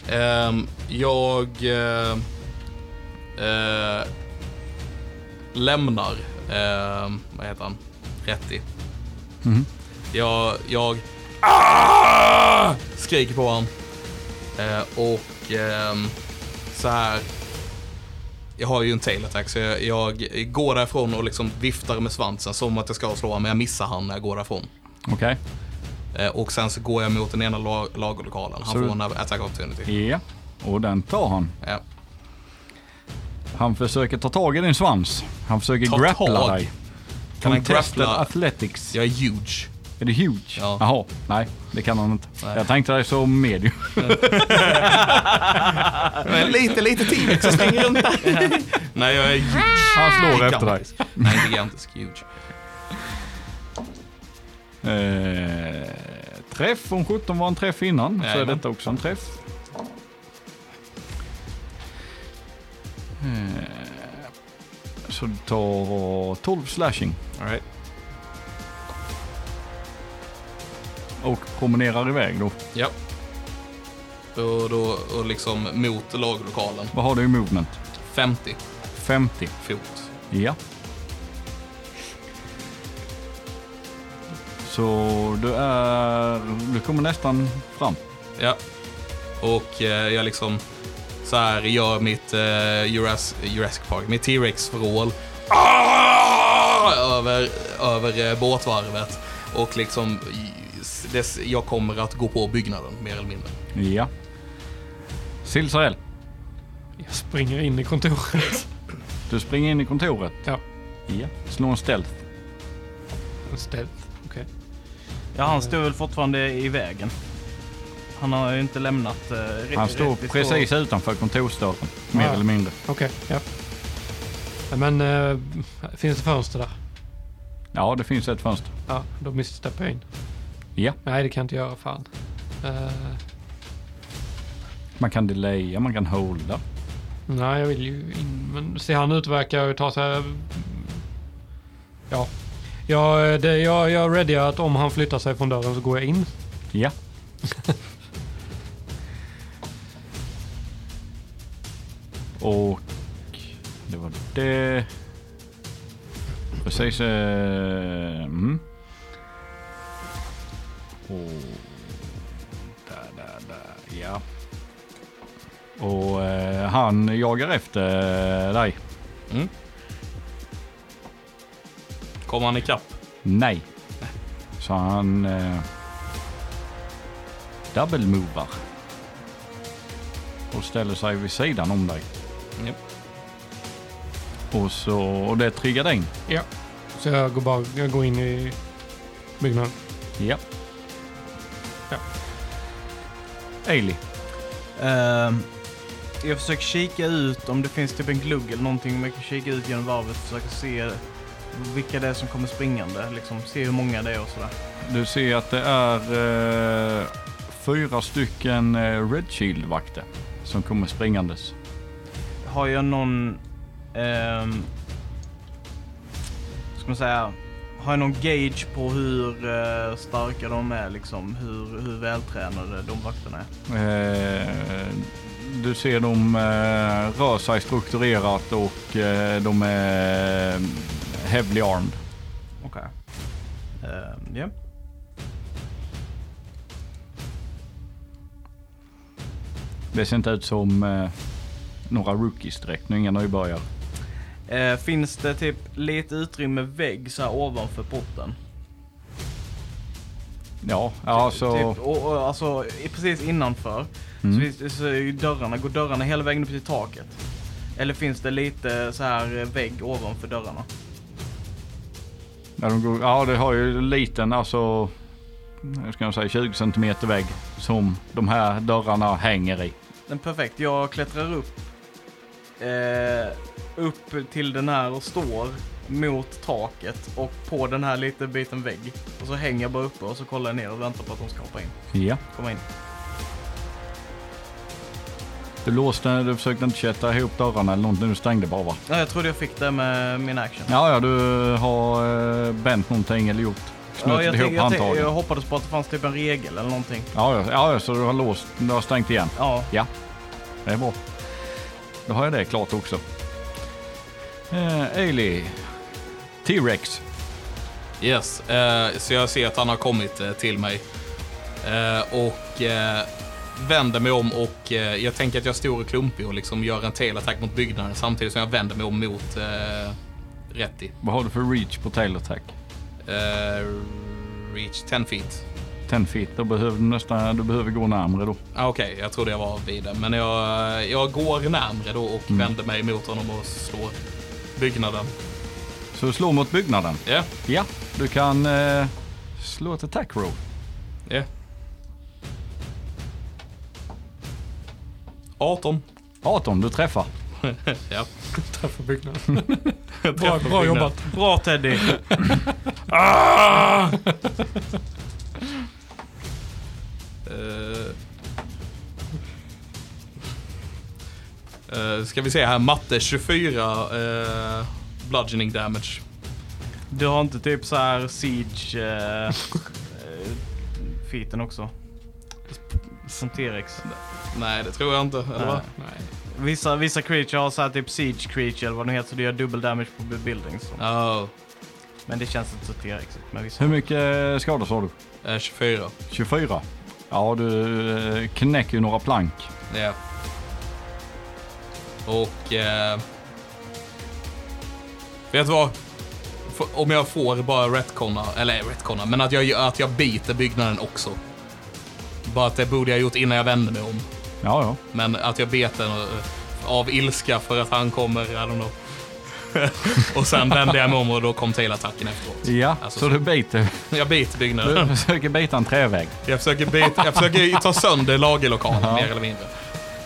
Speaker 1: Ehm, jag eh, eh, lämnar, ehm, vad heter han, Rätti.
Speaker 3: Mhm.
Speaker 1: Jag, jag Ah! skriker på honom. Eh, och ehm, så här. Jag har ju en tail attack så jag, jag går därifrån och liksom viftar med svansen som att jag ska slå honom, men jag missar han när jag går därifrån.
Speaker 3: Okej.
Speaker 1: Eh, och sen så går jag mot den ena lag- lagerlokalen. Han
Speaker 3: Så-
Speaker 1: får en attack opportunity.
Speaker 3: Ja, och den tar han.
Speaker 1: Ja.
Speaker 3: Han försöker ta tag i din svans. Han försöker
Speaker 1: Ta
Speaker 3: grappla
Speaker 1: tag?
Speaker 3: dig.
Speaker 1: Kan han
Speaker 3: Contested
Speaker 1: grappla?
Speaker 3: Athletics.
Speaker 1: Jag är huge.
Speaker 3: Är det huge?
Speaker 1: Ja.
Speaker 3: Jaha, nej det kan han inte.
Speaker 1: Nej.
Speaker 3: Jag tänkte dig som medium.
Speaker 1: Men lite, lite T-rex som springer runt där. (laughs) Nej, jag är huge.
Speaker 3: Han slår efter dig.
Speaker 1: Gigantisk. Nej, gigantisk. Huge.
Speaker 3: Eh, träff, om 17 var en träff innan så är
Speaker 1: Jajamän.
Speaker 3: detta också en träff. Eh, så du tar 12 slashing
Speaker 1: All right.
Speaker 3: och promenerar iväg då.
Speaker 1: Ja. Och, då, och liksom mot laglokalen.
Speaker 3: Vad har du i movement?
Speaker 1: 50
Speaker 3: 50.
Speaker 1: fot.
Speaker 3: Ja. Så du är... Du kommer nästan fram.
Speaker 1: Ja. Och eh, jag liksom så här gör mitt eh, Juras, Jurassic Park, mitt T-Rex-vrål. Ah! Över, över eh, båtvarvet. Och liksom, i- s- dess, jag kommer att gå på byggnaden mer eller mindre.
Speaker 3: Ja. Silsarell,
Speaker 4: Jag springer in i kontoret. (laughs)
Speaker 3: du springer in i kontoret.
Speaker 4: ja,
Speaker 3: Ja. Slå en stealth.
Speaker 4: ställt. Okej.
Speaker 2: Ja, han står väl fortfarande i vägen. Han har ju inte lämnat... eh, re-
Speaker 3: Han står
Speaker 2: rätt i
Speaker 3: precis utanför kontorsdörren, mer
Speaker 4: Ja.
Speaker 3: eller mindre.
Speaker 4: Okej, ja. Nej, Men eh, finns det fönster där?
Speaker 3: Ja, det finns ett fönster.
Speaker 4: Ja, då missteppar jag in.
Speaker 3: Ja.
Speaker 4: Nej, det kan jag inte göra. Fan. Eh,
Speaker 3: Man kan delaya, man kan holda.
Speaker 4: nej, jag vill ju in. Men ser han ut verkar ju ta sig... Ja. Jag, eh, det, jag, jag är ready att om han flyttar sig från dörren så går jag in.
Speaker 3: Ja. Och det var det. Precis. Eh, mm. Och där, där, där. Ja. Och eh, han jagar efter dig.
Speaker 1: Kommer han ikapp?
Speaker 3: Nej. Så han... Eh, double-movar. Och ställer sig vid sidan om dig.
Speaker 1: Japp.
Speaker 3: Och, så, och det triggar dig.
Speaker 4: Ja. Så jag går bara jag går in i byggnaden.
Speaker 3: Ja.
Speaker 4: Ja.
Speaker 3: Ailey.
Speaker 2: Ehm, jag försöker kika ut om det finns typ en glugg eller någonting. Om jag kan kika ut genom varvet och försöka se vilka det är som kommer springande. Liksom, se hur många det är och sådär.
Speaker 3: Du ser att det är eh, fyra stycken eh, Red Shield-vakter som kommer springandes.
Speaker 2: Har jag någon... ehm, ska man säga... Har jag någon gauge på hur eh, starka de är liksom? Hur, hur vältränade de vakterna är?
Speaker 3: Eh, du ser de eh, rör sig strukturerat och eh, de är heavily armed.
Speaker 2: Okej. Ehm, Ja.
Speaker 3: Det ser inte ut som eh, några rookies direkt, nu är inga nybörjare.
Speaker 2: Eh, finns det typ lite utrymme vägg så här ovanför porten?
Speaker 3: Ja, alltså...
Speaker 2: Typ, och, och, alltså i- precis innanför. Så,
Speaker 3: Mm.
Speaker 2: finns, så är ju dörrarna, går dörrarna hela vägen upp till taket? Eller finns det lite så här eh, vägg ovanför dörrarna?
Speaker 3: När de går, ja, det har ju en liten, alltså... Hur ska jag säga? 20 centimeter vägg som de här dörrarna hänger i.
Speaker 2: Den perfekt. Jag klättrar upp. Eh, upp till den här och står mot taket och på den här lite biten vägg. Och så hänger jag bara uppe och så kollar jag ner och väntar på att de ska hoppa in.
Speaker 3: Ja.
Speaker 2: Komma in.
Speaker 3: Du låste, du försökte inte sätta ihop dörrarna eller någonting, du stängde bara va?
Speaker 2: Ja, jag trodde jag fick det med min action.
Speaker 3: Ja, ja, du har eh, bänt någonting eller gjort,
Speaker 2: Ja, jag,
Speaker 3: knutit ihop
Speaker 2: tänk, jag, tänk,
Speaker 3: handtagen.
Speaker 2: jag hoppades på att det fanns typ en regel eller någonting.
Speaker 3: Ja, ja, ja, så du har låst, du har stängt igen.
Speaker 2: Ja,
Speaker 3: Ja, det är bra. Då har jag det klart också. Eh, Ailey. T-Rex.
Speaker 1: Yes, eh, så jag ser att han har kommit eh, till mig. Eh, och eh, vänder mig om och eh, jag tänker att jag står och klumpig och liksom gör en tail-attack mot byggnaden samtidigt som jag vänder mig om mot eh, Retti.
Speaker 3: Vad har du för reach på tail attack?
Speaker 1: Eh, reach 10 feet.
Speaker 3: 10 feet. Då behöver du nästan, du behöver gå närmre då.
Speaker 1: Ah, Okej, jag trodde jag var vid det. Men jag, jag går närmre då och
Speaker 4: Mm.
Speaker 1: vänder mig mot honom och slår byggnaden.
Speaker 3: Så du slår mot byggnaden.
Speaker 1: Ja,
Speaker 3: Ja, du kan eh, slå ett attack roll.
Speaker 1: ja. 18.
Speaker 3: 18, du träffar.
Speaker 1: Ja.
Speaker 4: (laughs) Träffar byggnaden. bra, bra jobbat.
Speaker 2: bra Teddy.
Speaker 1: Uh, eh, ska vi se här, matte 24 eh, bludgeoning damage.
Speaker 2: Du har inte typ så här siege eh, eh, feeten också? Som T-rex.
Speaker 1: Nej, det tror jag inte. Eller va?
Speaker 4: Nej.
Speaker 2: Vissa, vissa creature har så här typ siege creature eller vad det heter så du gör dubbel damage på buildings.
Speaker 1: Ja,
Speaker 2: Men det känns inte så T-rex. Men vissa.
Speaker 3: Hur mycket skada sa du?
Speaker 1: eh, 24.
Speaker 3: 24. Ja, du eh, knäcker ju några plank.
Speaker 1: Ja. Och... Eh, vet du vad? F- Om jag får bara retconna, eller retconna, men att jag, att jag biter byggnaden också. Bara att det borde jag gjort innan jag vände mig om.
Speaker 3: Ja, ja.
Speaker 1: Men att jag bet den eh, av ilska för att han kommer, I don't know. (laughs) och sen vände jag mig om och då kom Tail-attacken efteråt.
Speaker 3: Ja,
Speaker 1: Alltså,
Speaker 3: så du biter.
Speaker 1: Jag bet
Speaker 3: Du
Speaker 1: byggnaden.
Speaker 3: försöker bita en trävägg.
Speaker 1: Jag försöker, bit, jag försöker ta sönder lagerlokalen mer eller mindre.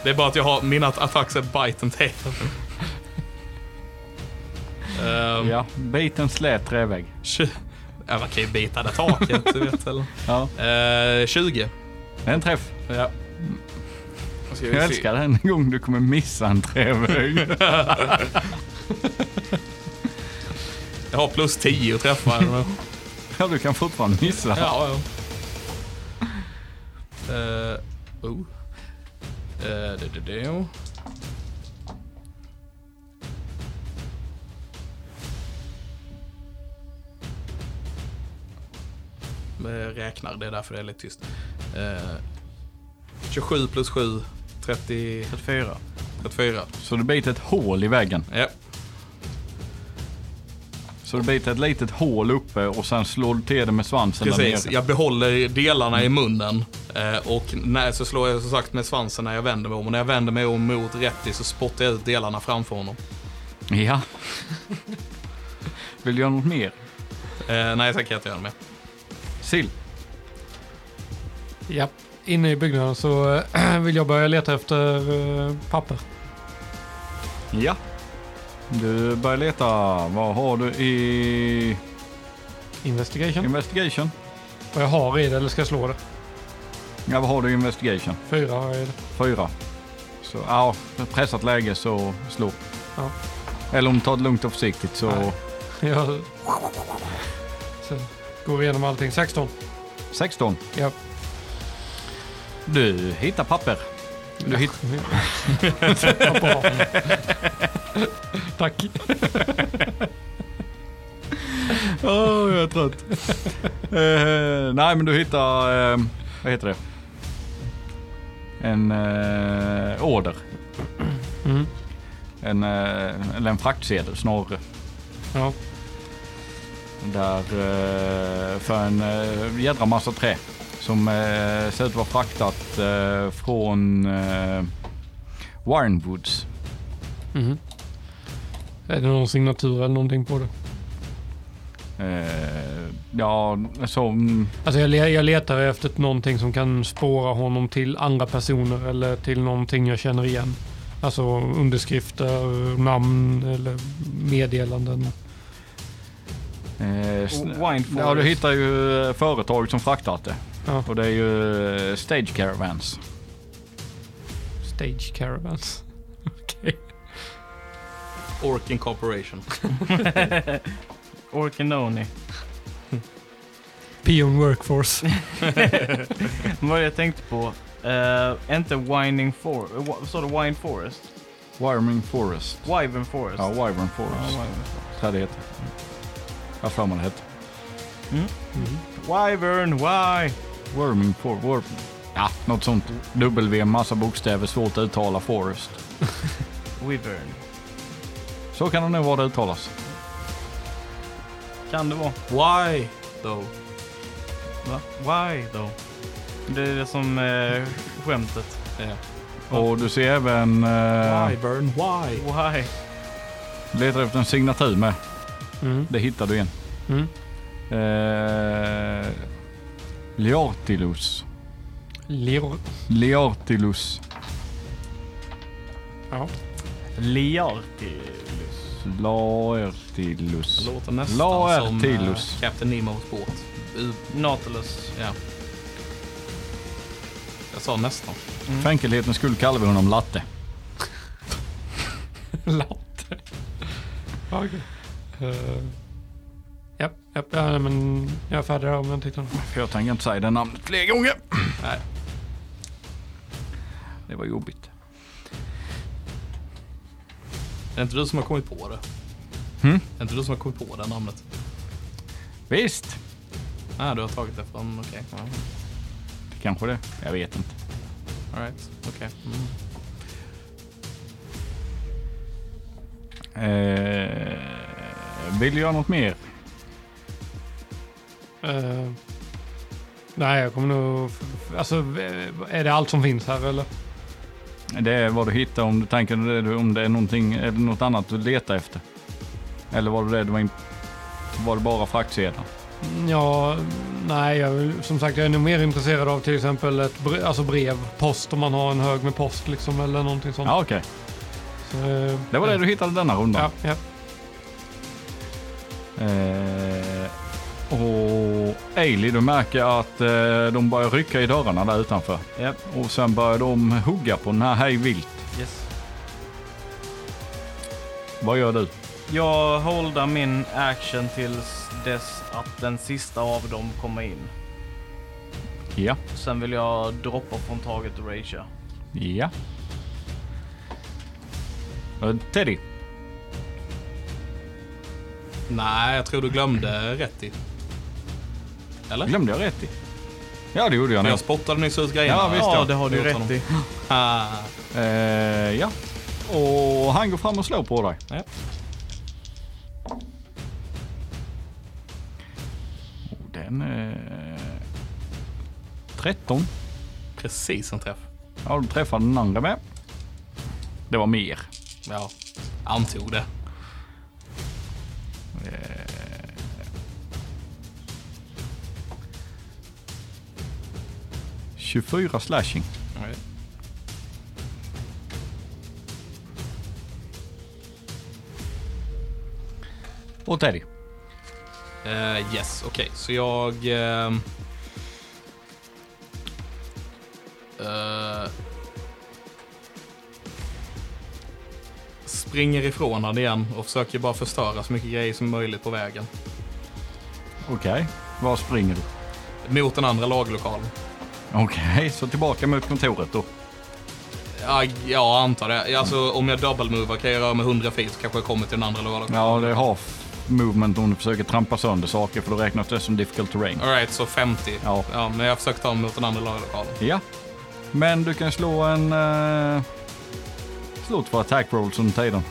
Speaker 1: Det är bara att jag har mina attacks är bite and tail. Ehm,
Speaker 3: Ja, bit en slät trävägg.
Speaker 1: tju- ja, man kan ju bita det taket, du vet. Eller?
Speaker 3: Ja.
Speaker 1: Eh, 20.
Speaker 3: Det är en träff.
Speaker 1: Ja.
Speaker 3: Jag älskar den gång du kommer missa en trävägg.
Speaker 1: Jag har plus 10 att träffa. eller?
Speaker 3: ja, du kan fortfarande missa.
Speaker 1: Ja, ja. Eh, oh. Eh, det, det, det. Men jag räknar, det är därför det är lite tyst. Eh, 27 Eh, plus 7, 30,
Speaker 2: 34.
Speaker 1: 34.
Speaker 3: Så du biter ett hål i väggen.
Speaker 1: Ja.
Speaker 3: Så du biter ett litet hål uppe och sen slår du till det med svansen
Speaker 1: Precis,
Speaker 3: där nere.
Speaker 1: jag behåller delarna i munnen eh, och när, så slår jag som sagt med svansen när jag vänder mig om. Och när jag vänder mig om mot Retti så spottar jag ut delarna framför honom.
Speaker 3: Ja. Vill du göra något mer?
Speaker 1: Eh, nej, tack, jag inte göra det mer.
Speaker 3: Sill?
Speaker 4: (laughs) Ja, inne i byggnaden så eh, (clears throat) vill jag börja leta efter eh, papper.
Speaker 3: Ja. Du börjar leta. Vad har du i
Speaker 4: Investigation.
Speaker 3: investigation?
Speaker 4: Vad jag har i det eller ska jag slå det?
Speaker 3: Ja, vad har du i investigation?
Speaker 4: Fyra har jag i det. (laughs)
Speaker 3: Fyra. Så, ja, pressat läge så slå.
Speaker 4: Ja.
Speaker 3: Eller om du tar det lugnt och försiktigt så...
Speaker 4: Nej. Jag... Så går vi igenom allting. 16.
Speaker 3: 16.
Speaker 4: Ja.
Speaker 3: Du hittar papper. Du (laughs) hittar...
Speaker 4: (laughs) Vad bra. (laughs) Tack.
Speaker 3: Åh, jag är trött. (laughs) Eh, nej, men du hittar... eh, vad heter det? En eh, order.
Speaker 4: Mm.
Speaker 3: En, eh, eller en fraktsedel snarare.
Speaker 4: Ja.
Speaker 3: Där eh, för en eh, jädra massa trä som eh, ser ut att vara fraktat eh, från eh, Warrenwoods.
Speaker 4: Mm. Är det någon signatur eller någonting på det?
Speaker 3: Eh, ja, som...
Speaker 4: Alltså jag, le- jag letar efter någonting som kan spåra honom till andra personer eller till någonting jag känner igen. Alltså underskrifter, namn eller meddelanden.
Speaker 3: Eh, s-
Speaker 2: Wine
Speaker 3: ja, du hittar ju eh, företag som fraktat det.
Speaker 4: Ja.
Speaker 3: Och det är ju eh, Stage Caravans.
Speaker 4: Stage caravans. Okej.
Speaker 1: Orkin Corporation.
Speaker 3: (laughs)
Speaker 2: Orkinoni. (laughs)
Speaker 4: Pion workforce.
Speaker 2: Vad jag tänkte på, eh, inte Winding Forest, vad sa du? Wine Forest?
Speaker 3: Wyvern Forest.
Speaker 2: Wyvern Forest?
Speaker 3: Ja, Wyvern
Speaker 2: Ja,
Speaker 3: Forest.
Speaker 2: Wyvern Forest.
Speaker 3: Så här det heter. Jag har för mig det heter.
Speaker 2: Wyvern, why?
Speaker 3: Worming for Worm. Ja, något sånt. W, massa bokstäver, svårt att uttala. Forest.
Speaker 2: Wyvern.
Speaker 3: Så kan det nog vara det uttalas.
Speaker 2: Kan det vara?
Speaker 1: Why? Though.
Speaker 2: Va? Why though? Det är det som eh, skämtet.
Speaker 1: Yeah.
Speaker 3: Och du ser även... Eh,
Speaker 1: Why, Burn? Why?
Speaker 2: Why?
Speaker 3: letar efter en signatur med.
Speaker 4: Mm.
Speaker 3: Det hittar du igen.
Speaker 4: Mm.
Speaker 3: Eh, Liartilus.
Speaker 4: Leor.
Speaker 3: Liartilus. (laughs)
Speaker 4: Ja.
Speaker 2: Liartilus.
Speaker 3: Laertilus.
Speaker 1: Låter nästan
Speaker 3: Laer
Speaker 1: som
Speaker 3: Tillus.
Speaker 1: eh, Captain Nemos båt. U-
Speaker 2: Nautilus.
Speaker 1: Ja. Jag sa nästan.
Speaker 3: För enkelhetens skull kallar vi honom Latte.
Speaker 4: Latte. Okej. Eh, Japp, japp, ja, nej, men jag är färdig där om jag tittar.
Speaker 3: För jag tänker inte säga det namnet fler gånger.
Speaker 1: Nej.
Speaker 3: Det var jobbigt.
Speaker 1: Är det inte du som har kommit på det?
Speaker 3: Hmm?
Speaker 1: Är det inte du som har kommit på det namnet?
Speaker 3: Visst.
Speaker 1: Nej, du har tagit det från... Okej. Ja.
Speaker 3: Kanske det. Jag vet inte.
Speaker 1: Alright. Okej.
Speaker 3: Eh, vill du göra något mer?
Speaker 4: Eh, nej, jag kommer nog... f- f- Alltså, eh, är det allt som finns här eller?
Speaker 3: Det är vad du hittar om du tänker om det är någonting, är det något annat du letar efter. Eller var det det du var, in, var det bara fraktsedeln?
Speaker 4: Ja, nej, jag, vill- som sagt, jag är nog mer intresserad av till exempel ett brev, alltså brev, post om man har en hög med post liksom eller någonting sånt.
Speaker 3: Ja, okej.
Speaker 4: Så, eh,
Speaker 3: Det var det du hittade denna
Speaker 4: Ja,
Speaker 3: rundan.
Speaker 4: ja.
Speaker 3: Eh, och Ailey, du märker att eh, de börjar rycka i dörrarna där utanför.
Speaker 2: Japp,
Speaker 3: Och sen börjar de hugga på den här hej vilt.
Speaker 2: yes.
Speaker 3: Vad gör du?
Speaker 2: Jag håller min action tills dess att den sista av dem kommer in.
Speaker 3: Ja.
Speaker 2: Sen vill jag droppa från taget och ragea.
Speaker 3: Ja. Eh, Teddy.
Speaker 1: Nej, jag tror du glömde Retti. Eller?
Speaker 3: Glömde jag rätt i? Ja, det gjorde jag
Speaker 1: Men
Speaker 3: nu.
Speaker 1: jag spottade nyss ut grejerna.
Speaker 3: Ja, visst,
Speaker 2: Ja,
Speaker 3: ja.
Speaker 2: det har du
Speaker 1: Jag tar
Speaker 2: rätt
Speaker 1: dem.
Speaker 2: i.
Speaker 1: Ah,
Speaker 3: Eh, ja. Och han går fram och slår på dig.
Speaker 1: ja.
Speaker 3: Och den... Eh, 13.
Speaker 1: Precis en träff.
Speaker 3: Ja, du träffar den andra med. Det var mer.
Speaker 1: Ja, antog det.
Speaker 3: Eh, 24 slashing. Och Teddy.
Speaker 1: Eh, yes, okej. Så jag... ehm, eh, springer ifrån han igen och försöker bara förstöra så mycket grejer som möjligt på vägen.
Speaker 3: Okej. Var springer du?
Speaker 1: Mot den andra laglokalen.
Speaker 3: Okej, så tillbaka mot kontoret då.
Speaker 1: Ja, jag antar det. Alltså, om jag double-movar kan jag röra mig 100 feet så kanske jag kommer till den andra laglokalen.
Speaker 3: Ja, det är half movement om du försöker trampa sönder saker för då räknas det som difficult terrain.
Speaker 1: Alright, så 50.
Speaker 3: Ja.
Speaker 1: ja. Men jag försöker ta mig mot den andra laglokalen.
Speaker 3: Ja. Men du kan slå en... Uh, slå två attack rolls under tiden.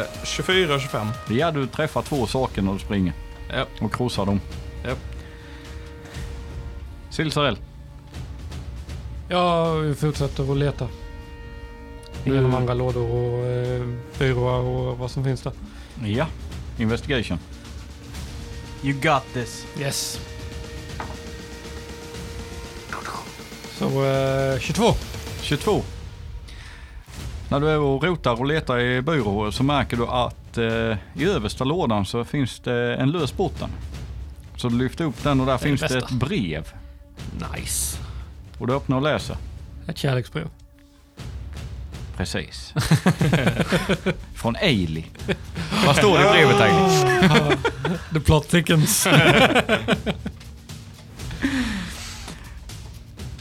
Speaker 1: Eh, 24, 25.
Speaker 3: Ja, du träffar två saker när du springer
Speaker 1: Ja,
Speaker 3: och krossar dem.
Speaker 1: ja.
Speaker 3: Silsarell.
Speaker 4: Jag fortsätter att leta. Genom
Speaker 3: Mm.
Speaker 4: andra lådor och eh, byråer och vad som finns där.
Speaker 3: Ja. Investigation.
Speaker 2: You got this.
Speaker 4: Yes. Så eh, 22.
Speaker 3: 22. När du är och rotar och letar i byråer så märker du att eh, i översta lådan så finns det en lös botten. Så du lyfter upp den och där
Speaker 4: det
Speaker 3: finns det
Speaker 4: bästa.
Speaker 3: ett brev.
Speaker 1: Nice.
Speaker 3: Och du öppnar och läser.
Speaker 4: Ett kärleksbrev.
Speaker 3: (laughs) Precis. Från Ailey. Vad står det i brevet Ailey?
Speaker 4: The plot thickens.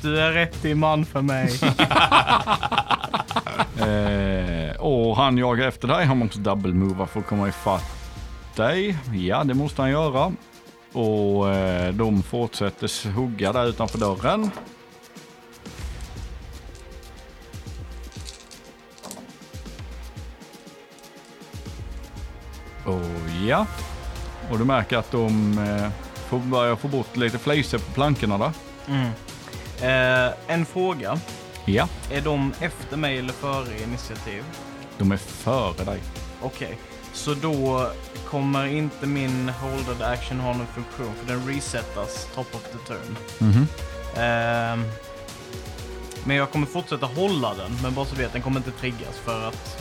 Speaker 2: Du är rätt i man för (laughs) mig.
Speaker 3: Eh, och han jagar efter dig. Han måste double-mova för att komma ifatt dig. Ja, det måste han göra. Och eh, de fortsätter hugga där utanför dörren. Och ja. Och du märker att de eh, får börja få bort lite flejser på plankorna där.
Speaker 2: Mm. Eh, en fråga.
Speaker 3: Ja,
Speaker 2: Är de efter mig eller före initiativ?
Speaker 3: de är före dig.
Speaker 2: Okej. Så då kommer inte min holded action ha någon funktion för den resetas top of the turn.
Speaker 3: Mhm.
Speaker 2: Ehm, men jag kommer fortsätta hålla den, men bara så vet den kommer inte triggas för att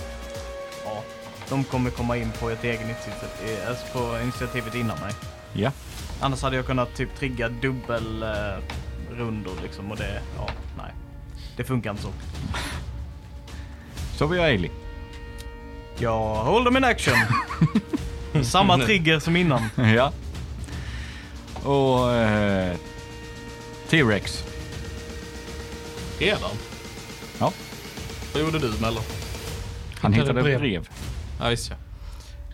Speaker 2: ja, de kommer komma in på ett eget initiativ, eh, alltså på initiativet innan mig.
Speaker 3: Ja.
Speaker 2: Annars hade jag kunnat typ trigga dubbelrundor liksom och det, ja, nej. Det funkar inte så.
Speaker 3: Så vi har Ailey.
Speaker 2: Jag håller min action. Samma trigger som innan.
Speaker 3: (laughs) Ja. Och eh, T-Rex.
Speaker 1: Redan?
Speaker 3: Ja,
Speaker 1: Vad gjorde du Mello?
Speaker 3: han hittade
Speaker 4: Hittade
Speaker 3: ett brev.
Speaker 4: brev.
Speaker 1: Ja, visst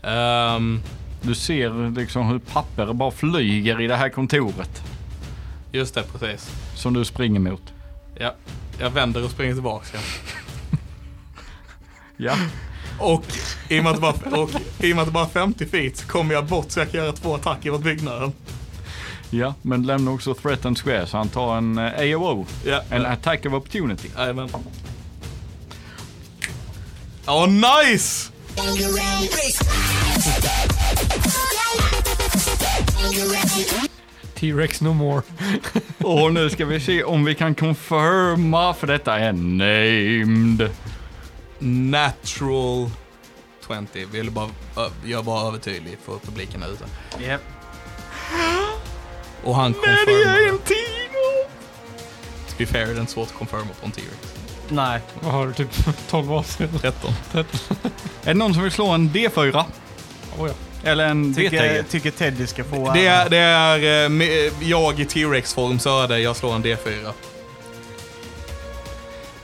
Speaker 1: ja. Ehm,
Speaker 3: Du ser liksom hur papper bara flyger i det här kontoret
Speaker 1: just det, precis.
Speaker 3: som du springer mot.
Speaker 1: Ja, jag vänder och springer tillbaka igen.
Speaker 3: (laughs) Ja.
Speaker 1: Och i och med att det bara, och, i och med att det bara är 50 feet så kommer jag bort så jag kan göra två attacker mot byggnaden.
Speaker 3: ja, men lämna också Threat and Square så han tar en eh, AOO.
Speaker 1: Ja,
Speaker 3: En
Speaker 1: ja.
Speaker 3: attack of opportunity.
Speaker 1: Jajamän. Åh, nice!
Speaker 4: (laughs) T-Rex no more.
Speaker 3: (laughs) Och nu ska vi se om vi kan confirma för detta är named.
Speaker 1: Natural 20. Vill bara, ö- jag är bara övertydlig för publiken här ute.
Speaker 2: Yep.
Speaker 1: Och han
Speaker 3: är
Speaker 1: confirmar.
Speaker 3: en tiger!
Speaker 1: To be fair, det är inte svårt att confirma på en T-Rex.
Speaker 2: Nej.
Speaker 4: Vad har du? Typ 12 avsnitt?
Speaker 1: 13.
Speaker 3: Är det någon som vill slå en D4?
Speaker 4: Oh, ja.
Speaker 3: Eller en E?
Speaker 2: Tycker,
Speaker 3: D10?
Speaker 2: tycker Teddy ska få uh,
Speaker 1: Det
Speaker 2: äran.
Speaker 1: är, det är eh, med- jag i T-Rex-form Söder. Jag slår en D4.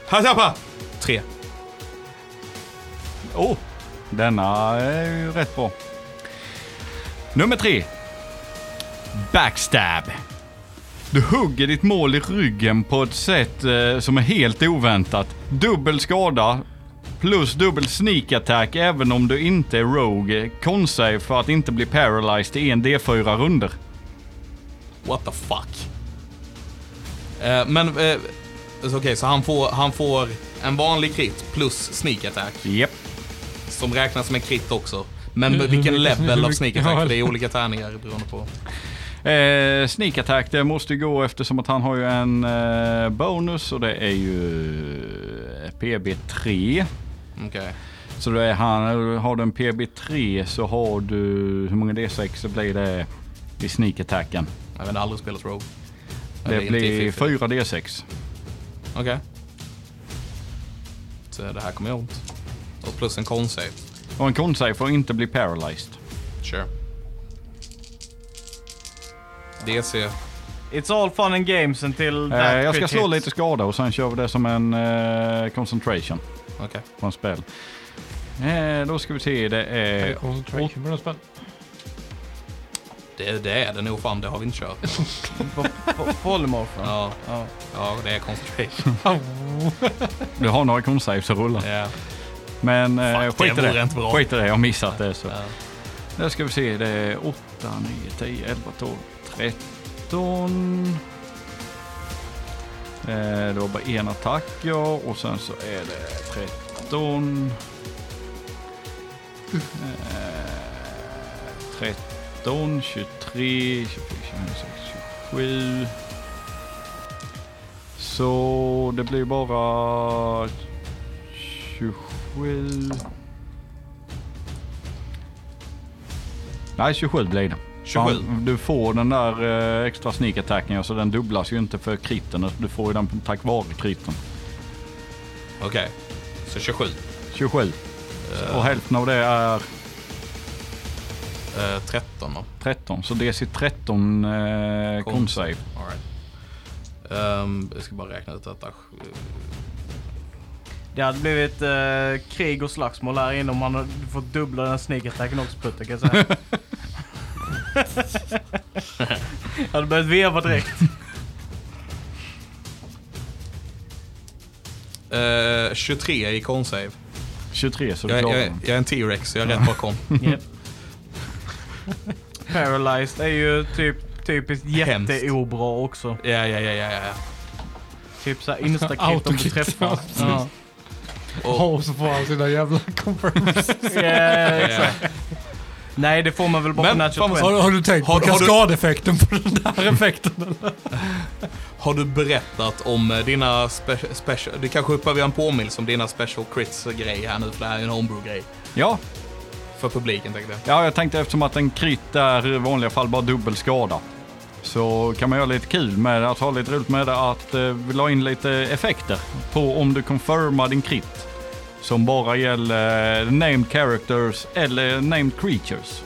Speaker 1: Här tappar! Tre.
Speaker 3: Åh, denna är ju rätt bra. Nummer tre. Backstab. Du hugger ditt mål i ryggen på ett sätt eh, som är helt oväntat. Dubbel skada plus dubbel sneak attack även om du inte är rogue. Konstig för att inte bli paralyzed i en D4 runder.
Speaker 1: What the fuck? Eh, men, eh, så okej, så han får, han får en vanlig crit plus sneak attack,
Speaker 3: Japp.
Speaker 1: som räknas som en crit också. Men
Speaker 4: Hur- hur
Speaker 1: vilken
Speaker 4: mycket-
Speaker 1: level
Speaker 4: hur
Speaker 1: av
Speaker 4: mycket-
Speaker 1: sneak attack,
Speaker 4: ja,
Speaker 1: för det är olika tärningar beroende på.
Speaker 3: Eh, sneak attack, det måste ju gå eftersom att han har ju en eh, bonus och det är ju PB3.
Speaker 1: Okej.
Speaker 3: Så då är han, har du en PB3 så har du, hur många D6 så blir det i sneak attacken.
Speaker 1: Jag vet aldrig spelat Rogue.
Speaker 3: Det
Speaker 1: Eller inte i
Speaker 3: blir
Speaker 1: Fifi.
Speaker 3: 4 D6.
Speaker 1: Okej. Så det här kommer jag ont. Och plus en con-save.
Speaker 3: Och en konstig får inte bli paralyzed.
Speaker 1: Sure. DC.
Speaker 2: It's all fun and games until
Speaker 3: Eh,
Speaker 2: that
Speaker 3: jag ska
Speaker 2: crit
Speaker 3: slå
Speaker 2: hits.
Speaker 3: lite skada och sen kör vi det som en eh, concentration
Speaker 1: Okej.
Speaker 3: på en spel. Eh, då ska vi se, det är
Speaker 4: Concentration på den spel.
Speaker 1: Det, det är det nog fan, det har vi inte kört.
Speaker 2: På- på-
Speaker 1: (laughs)
Speaker 2: Polymorphen.
Speaker 1: Ja,
Speaker 2: Ja.
Speaker 1: ja det är concentration.
Speaker 3: Du har några konsaves att rulla.
Speaker 1: (laughs) Ja.
Speaker 3: Men eh,
Speaker 1: Fuck, det
Speaker 3: skit, i
Speaker 1: vore
Speaker 3: det.
Speaker 1: inte bra.
Speaker 3: skit i det, jag har missat det. Så.
Speaker 1: Ja.
Speaker 3: Där ska vi se, det är 8, 9, 10, 11, 12, 13. Eh, det var bara en attack ja, och sen så är det 13. Eh, 13, 23, 24, 25, 26, 27. Så det blir bara 27. Nej, 27 blir det.
Speaker 1: 27.
Speaker 3: Fan, Du får den där eh, extra sneak attacken, alltså den dubblas ju inte för kritten. Du får ju den tack vare kritten.
Speaker 1: Okej. Så 27.
Speaker 3: 27. Och hälften av det är
Speaker 1: Eh, 13 då.
Speaker 3: 13, så DC 13 eh,
Speaker 1: Con.
Speaker 3: con-save.
Speaker 1: All right. Ehm, jag ska bara räkna ut detta.
Speaker 2: Det hade blivit eh, krig och slagsmål här inne om man hade fått dubbla den sneakattacken också Putte kan jag säga. jag hade börjat veva direkt.
Speaker 1: Eh, 23 i con-save.
Speaker 3: 23 så du
Speaker 1: Jag,
Speaker 3: klarar
Speaker 1: jag,
Speaker 3: den.
Speaker 1: jag är en T-rex, så jag är rätt (laughs) bakom.
Speaker 2: (laughs) Paralyzed är ju typ typiskt
Speaker 1: Hemskt.
Speaker 2: jätteobra också.
Speaker 1: Ja, ja, ja, ja, ja.
Speaker 2: Typ såhär instakit om du
Speaker 4: Autokit.
Speaker 2: träffar. ja.
Speaker 1: Och,
Speaker 4: Och så får han sina jävla confirms.
Speaker 2: Ja,
Speaker 1: ja,
Speaker 2: exakt. Nej det får man väl bara
Speaker 1: Men,
Speaker 2: på
Speaker 1: fan
Speaker 2: natural
Speaker 1: vad
Speaker 2: 20.
Speaker 4: Har, har du tänkt
Speaker 1: Har-
Speaker 4: på vilka
Speaker 1: har du-
Speaker 4: skadeffekten på den där (laughs) effekten?
Speaker 1: Har du berättat om eh, dina spe- special... Det kanske behöver göra en påminnelse om dina special crits-grej här nu, för det här är en homebrew-grej.
Speaker 3: Ja,
Speaker 1: För publiken tänkte jag.
Speaker 3: ja, jag tänkte eftersom att en krit är i vanliga fall bara dubbel skada. Så kan man göra lite kul med det, att ha lite roligt med det, att eh, vi la in lite effekter på om du confirmar din krit. Som bara gäller eh, named characters eller named creatures.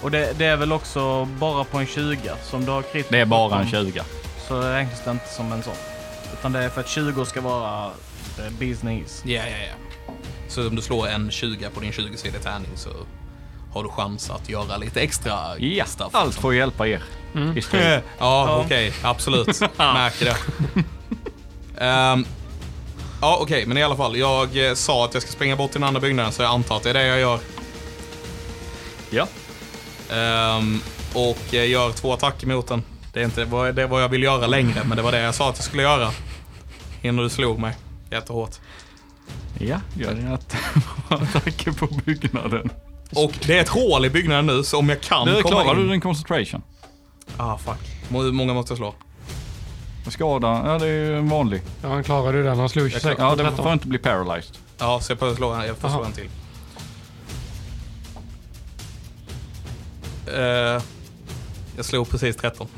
Speaker 2: Och det, det är väl också bara på en 20 som du har krit.
Speaker 3: Det är bara en
Speaker 2: på.
Speaker 3: 20.
Speaker 2: Så räknas det inte som en sån. Utan det är för att 20 ska vara eh, business.
Speaker 1: Ja, ja, ja. Så om du slår en 20 på din 20-sidig tärning så har du chans att göra lite extra
Speaker 3: Ja,
Speaker 1: stuff.
Speaker 3: allt får hjälpa er. I strid.
Speaker 1: (laughs) Ja, okej. (laughs) Absolut. Märker det. Ehm, ja, okej. men i alla fall. Jag eh, sa att jag ska springa bort till den andra byggnaden så jag antar att det är det jag gör.
Speaker 3: Ja.
Speaker 1: Ehm, och jag gör två attacker mot den. Det är inte vad, det är vad jag vill göra längre, men det var det jag sa att jag skulle göra. Innan du slog mig jättehårt.
Speaker 3: Ja, gör det att (laughs) attacker på byggnaden.
Speaker 1: Och det är ett hål i byggnaden nu, så om jag kan
Speaker 3: Nu
Speaker 1: komma
Speaker 3: klarar
Speaker 1: in...
Speaker 3: du din concentration.
Speaker 1: Ah, fuck. Må- Hur många måste jag slå?
Speaker 3: Skada, ja det är ju en vanlig.
Speaker 4: Ja, han klarade ju den. Han slog 26
Speaker 3: Ja,
Speaker 4: på
Speaker 3: den får
Speaker 4: 13.
Speaker 3: inte bli paralyzed.
Speaker 1: Ja, så jag får slå en, jag får slå
Speaker 4: Aha.
Speaker 1: en till. Eh, jag slog precis 13.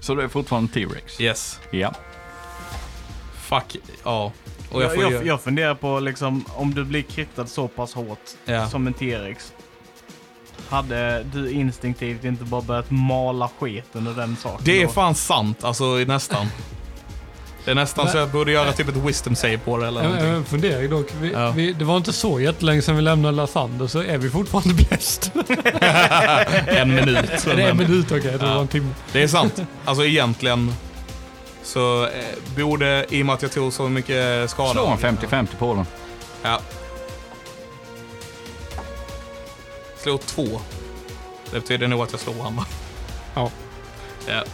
Speaker 3: Så det är fortfarande T-Rex.
Speaker 1: Yes.
Speaker 3: Ja.
Speaker 1: Fuck. Ja. Och jag
Speaker 2: Jag,
Speaker 1: får
Speaker 2: jag,
Speaker 1: ju...
Speaker 2: jag, funderar på liksom, om du blir krittad så pass hårt
Speaker 1: Ja.
Speaker 2: som en T-rex. Hade du instinktivt inte bara börjat mala skiten ur den saken?
Speaker 1: Det är
Speaker 2: då?
Speaker 1: fan sant, alltså nästan. Det är nästan så jag borde göra typ ett wisdom save på det eller
Speaker 4: En,
Speaker 1: någonting.
Speaker 4: en fundering dock. Vi,
Speaker 1: Ja.
Speaker 4: vi, det var inte så jättelänge sedan vi lämnade Lasander så är vi fortfarande bäst.
Speaker 1: En minut.
Speaker 4: (laughs) Är det
Speaker 1: Men
Speaker 4: en minut? Okej, det
Speaker 1: Ja.
Speaker 4: var en timme.
Speaker 1: det är sant. Alltså egentligen så eh, borde, i och med att jag tog så mycket skada.
Speaker 3: Slå en 50-50 på den.
Speaker 1: Ja. Slå två. Det betyder nog att jag slår honom va?
Speaker 4: Ja.
Speaker 1: Ja.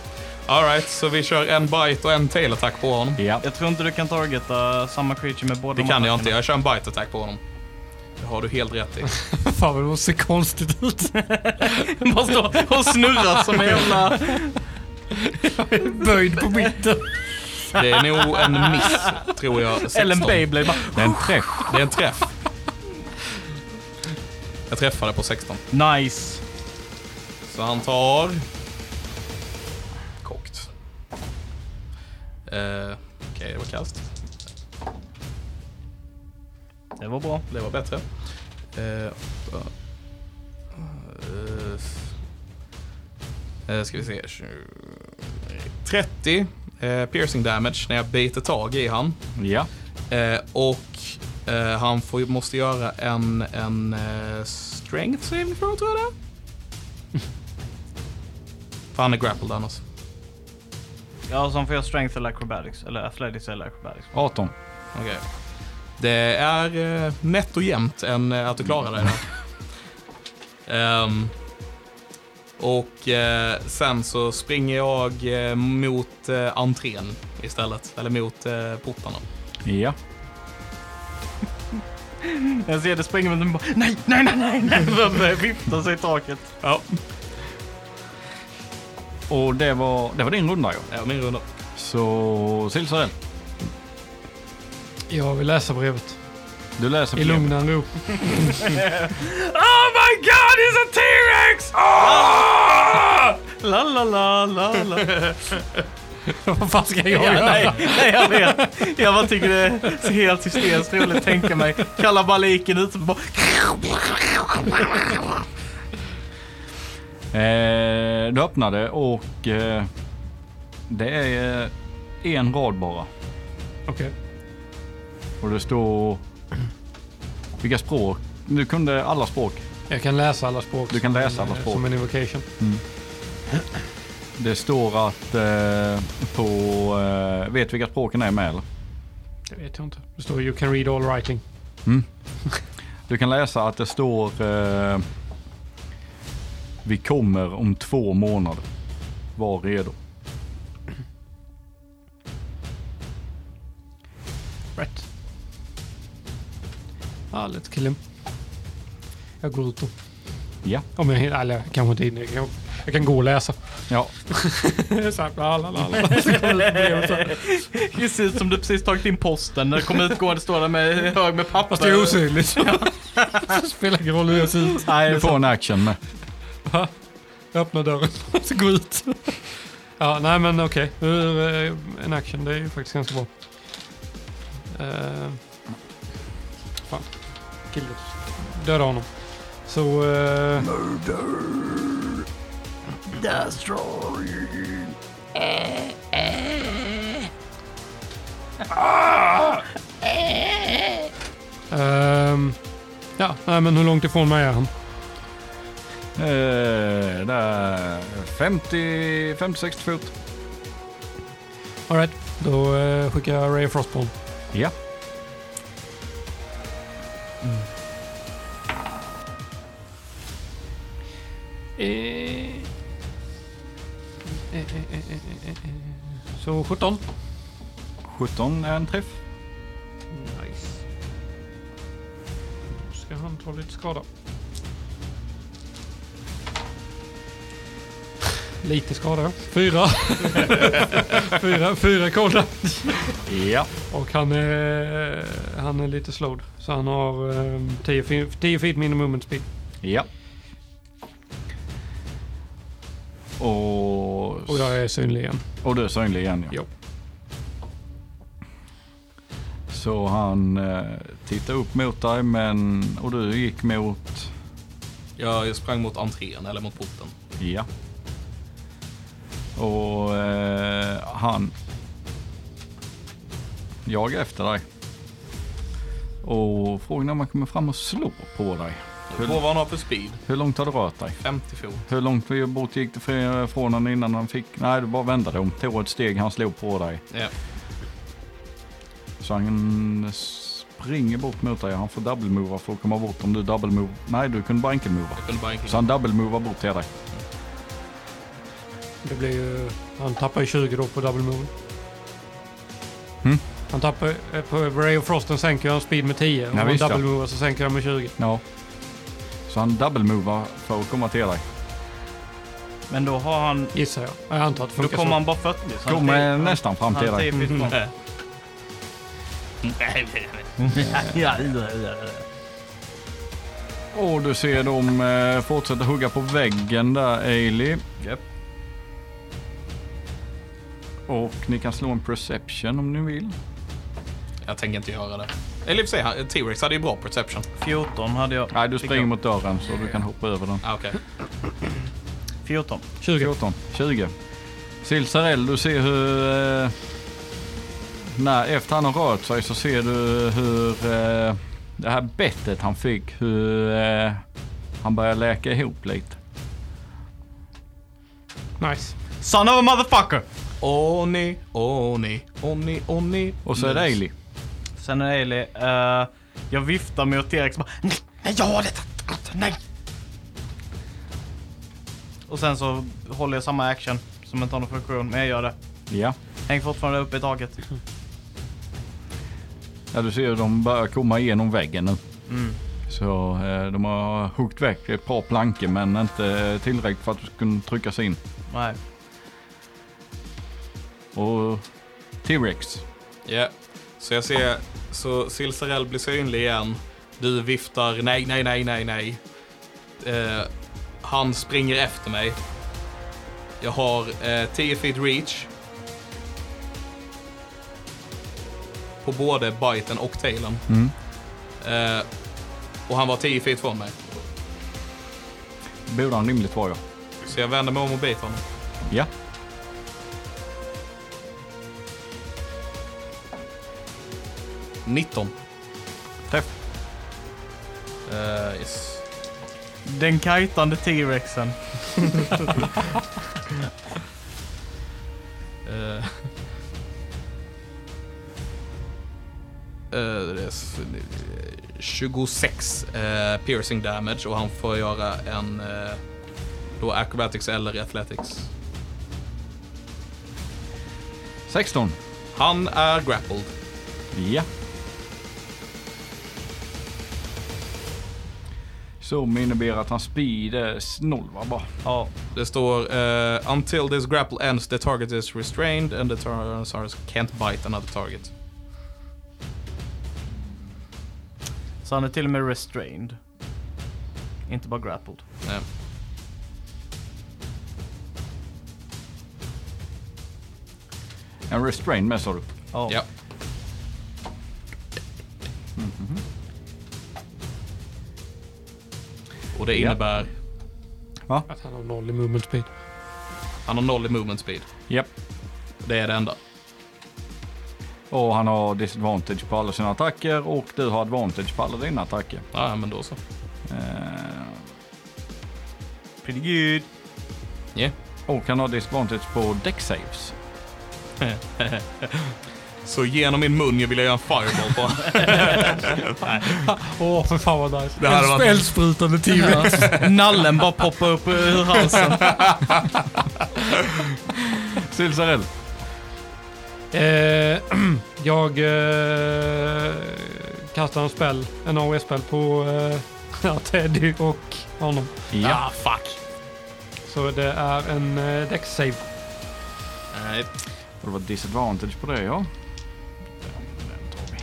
Speaker 1: Alright, så vi kör en bite och en tail attack på honom.
Speaker 3: Ja.
Speaker 2: Jag tror inte du kan targeta samma creature med båda
Speaker 1: Det
Speaker 2: de
Speaker 1: kan jag inte,
Speaker 2: attackerna.
Speaker 1: jag kör en bite attack på honom. Det har du helt rätt i.
Speaker 4: Fan vad det ser konstigt
Speaker 2: (laughs)
Speaker 4: ut.
Speaker 2: Bara stå och snurra som
Speaker 1: (laughs)
Speaker 2: en jävla...
Speaker 4: Böjd
Speaker 2: (laughs)
Speaker 4: på mitten.
Speaker 1: Det är nog en miss, tror jag. 16.
Speaker 2: Eller en Beyblade bara.
Speaker 3: Det är en träff.
Speaker 1: Det är en träff. Jag träffade på 16.
Speaker 2: Nice.
Speaker 1: Så han tar... Kokt. Eh, Okej, det var kast.
Speaker 2: Det var bra.
Speaker 1: Det var bättre. Eh, åtta. Eh, eh, ska vi se. 20, 30 eh, piercing damage när jag biter tag i han.
Speaker 3: Ja.
Speaker 1: Eh, och eh, han får, måste göra en, en eh, strength saving throw tror jag det är. För han är grappled annars.
Speaker 2: Ja, sen får jag strength eller acrobatics. Eller athletics eller acrobatics.
Speaker 3: 18.
Speaker 1: Okej. Det är eh, nätt och jämnt än eh, att du klarar dig där. Ehm, och eh, sen så springer jag eh, mot eh, entrén istället. Eller mot eh, portarna.
Speaker 3: Ja.
Speaker 2: Jag ser det springer men den bara nej, nej, nej, nej, nej. Den börjar vifta sig i taket.
Speaker 1: Ja.
Speaker 3: Och det var, det var din runda ja.
Speaker 1: Det var min runda.
Speaker 3: Så Silsarell,
Speaker 4: Jag vill läsa brevet.
Speaker 3: du läser
Speaker 4: I
Speaker 3: brevet.
Speaker 4: lugnande ro.
Speaker 2: Oh my god, it's a T-Rex!
Speaker 4: Oh!
Speaker 2: Ah! La, la, la, la, la.
Speaker 4: (laughs) Vad fan ska jag
Speaker 2: Ja,
Speaker 4: göra?
Speaker 2: nej, nej, jag vet. Jag bara tycker det är helt hysteriskt roligt att tänka mig kalabaliken ut och bara...
Speaker 3: Eh, du öppnade och eh, det är eh, en rad bara.
Speaker 4: Okej.
Speaker 3: Och det står vilka språk. Du kunde alla språk.
Speaker 4: Jag kan läsa alla språk.
Speaker 3: Du kan
Speaker 4: som
Speaker 3: läsa
Speaker 4: en,
Speaker 3: alla
Speaker 4: eh,
Speaker 3: språk.
Speaker 4: Som en invocation.
Speaker 3: Det står att eh, på... Eh, vet du vilka språken är med eller?
Speaker 4: Det vet jag inte. Det står you can read all writing.
Speaker 3: Du kan läsa att det står eh, Vi kommer om två månader. Var redo.
Speaker 4: Rätt. Härligt killen. Jag går ut då.
Speaker 3: Ja.
Speaker 4: Om jag hinner. Eller jag kanske inte hinner. Jag kan, jag kan gå och läsa.
Speaker 3: Ja.
Speaker 4: (laughs) Så här, la, la, la, la. (laughs) Så kommer det brevet så här.
Speaker 2: Det ser ut som du precis tagit in posten. När det kommer ut går det står där med hög med papper.
Speaker 4: Fast det är osynligt. (laughs) Det spelar ingen roll hur jag ser ut.
Speaker 2: Nej,
Speaker 3: Du får en action med.
Speaker 4: Jag öppnar dörren (laughs) och så går ut. Ja, nej men okej. Hur, eh, En action, det är ju faktiskt ganska bra. Uh, fan. Killet. Döda honom. Så... eh, ehm, ja, nej men hur långt ifrån mig är han?
Speaker 3: Eh, det är 50, 50-60 fot.
Speaker 4: Alright, då eh, skickar jag Ray of Frostborn.
Speaker 3: Ja.
Speaker 4: Så 17.
Speaker 3: 17 är en träff.
Speaker 4: Nice. Då ska han ta lite skada. Lite skada. Fyra. fyra, fyra cold
Speaker 3: Ja.
Speaker 4: Och han är, han är lite slowed. Så han har ehm, 10 fi- 10 feet minimum movement speed.
Speaker 3: Ja. Och,
Speaker 4: Och jag är synlig igen.
Speaker 3: och du är synlig igen ja.
Speaker 4: Ja.
Speaker 3: Så han eh, tittar upp mot dig men, och du gick mot...
Speaker 1: Jag sprang mot entrén, eller mot porten.
Speaker 3: Ja. Och eh, han jag efter dig. Och frågan är om han kommer fram och slår på dig.
Speaker 1: Du får vad han har för speed.
Speaker 3: Hur långt har du rört dig?
Speaker 1: 50 fot.
Speaker 3: Hur långt bort gick du fr- från honom innan han fick? Nej, du bara vände dig om. Tog ett steg, han slog på dig.
Speaker 1: Ja.
Speaker 3: Så han springer bort mot dig. Han får double-mova för att komma bort om du double-move. Nej, du kunde bara enkel-mova.
Speaker 1: Jag kunde bara enkelt.
Speaker 3: Så han double-movar bort till dig.
Speaker 4: Det blir ju... Han tappar ju 20 då på Double Moon.
Speaker 3: Mm.
Speaker 4: Han tappar... eh, På Ray of Frosten sänker han speed med 10. Om
Speaker 3: Ja,
Speaker 4: han
Speaker 3: visst, ja.
Speaker 4: Double Moon så sänker han med 20.
Speaker 3: Ja. Så han double-movar för att komma till dig.
Speaker 2: Men då har han...
Speaker 4: Gissar jag. Jag antar att det
Speaker 2: Då
Speaker 4: funkar
Speaker 2: kommer
Speaker 4: så.
Speaker 2: han bara 40. så han
Speaker 3: Kommer
Speaker 2: han-
Speaker 3: nästan fram till
Speaker 2: han
Speaker 3: dig. Mm.
Speaker 2: tio feet fram.
Speaker 1: Nej, nej, nej.
Speaker 3: Och du ser dem eh, fortsätta hugga på väggen där, Ailey.
Speaker 2: Japp.
Speaker 3: Och ni kan slå en perception om ni vill.
Speaker 1: Jag tänker inte göra det. Eller i och för sig, han- T-Rex hade ju bra perception.
Speaker 2: 14 hade jag.
Speaker 3: Nej, du
Speaker 2: Fick
Speaker 3: springer
Speaker 2: jag.
Speaker 3: mot dörren så du kan hoppa över den.
Speaker 1: Ah, Okej.
Speaker 2: 14.
Speaker 4: 20.
Speaker 3: 14, 20. Silsarell, du ser hur... Eh, när, efter han har rört sig så ser du hur eh, det här bettet han fick, hur eh, han börjar läka ihop lite.
Speaker 4: Nice.
Speaker 2: Son of a motherfucker!
Speaker 1: Åh nej, åh nej, åh nej, åh nej.
Speaker 3: Och så är det Ailey.
Speaker 2: Sen är Eli, eh, jag viftar mot T-Rex bara nej, nej, jag har detta, nej. Och sen så håller jag samma action som inte har någon funktion, men jag gör det.
Speaker 3: Ja.
Speaker 2: Häng fortfarande uppe i taket.
Speaker 3: ja, du ser hur de börjar komma igenom väggen nu. Så eh, de har huggit väck ett par plankor men inte tillräckligt för att du ska kunna trycka sig in.
Speaker 2: Nej.
Speaker 3: Och T-Rex.
Speaker 1: Ja. Så jag ser, så Silsarell blir synlig igen. Du viftar nej, nej, nej, nej, nej. Eh, han springer efter mig. Jag har eh, 10 feet reach. På både biten och tailen.
Speaker 3: Mm.
Speaker 1: Eh, och han var 10 feet från mig.
Speaker 3: Borde han rimligt vara ja.
Speaker 1: Så jag vänder mig om och biter honom.
Speaker 3: Ja.
Speaker 1: Nitton.
Speaker 3: Träff.
Speaker 1: Eh, yes.
Speaker 2: Den kajtande T-Rexen.
Speaker 1: Eh. Eh, det är s- 26 eh, piercing damage och han får göra en eh, då acrobatics eller athletics.
Speaker 3: 16.
Speaker 1: Han är grappled.
Speaker 3: Ja. Som innebär att hans speed är 0 va? Bara.
Speaker 2: Ja.
Speaker 1: Det står eh, “Until this grapple ends, the target is restrained and the Tyrannosaurus can't bite another target”.
Speaker 2: Så han är till och med restrained. Inte bara grappled.
Speaker 1: Nej.
Speaker 3: En restrain med sa du.
Speaker 2: Ja.
Speaker 1: Ja. Och det
Speaker 3: Ja.
Speaker 1: innebär
Speaker 4: Att han har noll i movement speed.
Speaker 1: han har noll i movement speed.
Speaker 3: Japp.
Speaker 1: Det är det enda.
Speaker 3: Och han har disadvantage på alla sina attacker och du har advantage på alla dina attacker.
Speaker 1: Ja, men då så.
Speaker 3: Eh,
Speaker 2: Pretty good.
Speaker 1: Yeah.
Speaker 3: och han har disadvantage på deck saves.
Speaker 1: Så genom min mun jag vill jag göra en fireball
Speaker 4: (laughs)
Speaker 1: på.
Speaker 4: Åh, för fan vad nice.
Speaker 1: Det hade
Speaker 4: en
Speaker 1: varit-
Speaker 4: spelsprutande T-Rex.
Speaker 2: Nallen bara poppar upp ur halsen.
Speaker 3: Silsarell.
Speaker 4: Eh, (clears throat) jag eh, kastar en spel, en AOE-spel på eh, (laughs) ja, Teddy och honom.
Speaker 3: Ja.
Speaker 1: Ah, fuck.
Speaker 4: Så det är en eh, dex save.
Speaker 1: Nej,
Speaker 3: Och det var disadvantage på det ja. Den tar vi.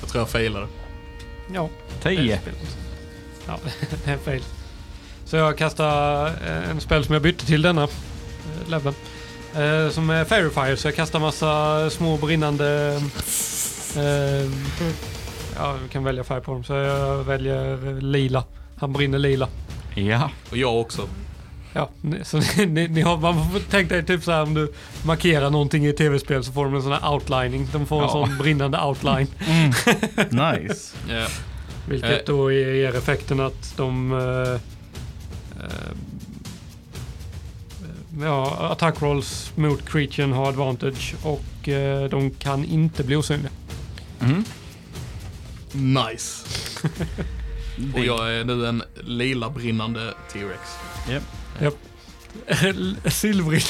Speaker 1: jag tror jag failade.
Speaker 4: Ja,
Speaker 3: 10.
Speaker 4: ja (laughs) det är fel. Så jag kastar eh, en spel som jag bytte till denna eh, leveln. Eh, som är Fairy Fire, så jag kastar massa små brinnande... Eh, ja, du kan välja färg på dem. Så jag väljer lila. Han brinner lila.
Speaker 3: Ja.
Speaker 1: Och jag också.
Speaker 4: Ja, ni- så (laughs) ni, ni, ni har, man får tänka dig typ så här om du markerar någonting i ett tv-spel så får de en sån här outlining. De får en
Speaker 5: Ja.
Speaker 4: sån brinnande outline.
Speaker 2: Nice.
Speaker 1: Eh,
Speaker 5: Ja.
Speaker 4: Vilket då är- ger effekten att de... eh, eh, ja, attack rolls mot creaturen har advantage och eh, de kan inte bli (laughs) osynliga. (laughs)
Speaker 1: Nice. Och jag är nu en lila brinnande T-Rex.
Speaker 4: Silvrig.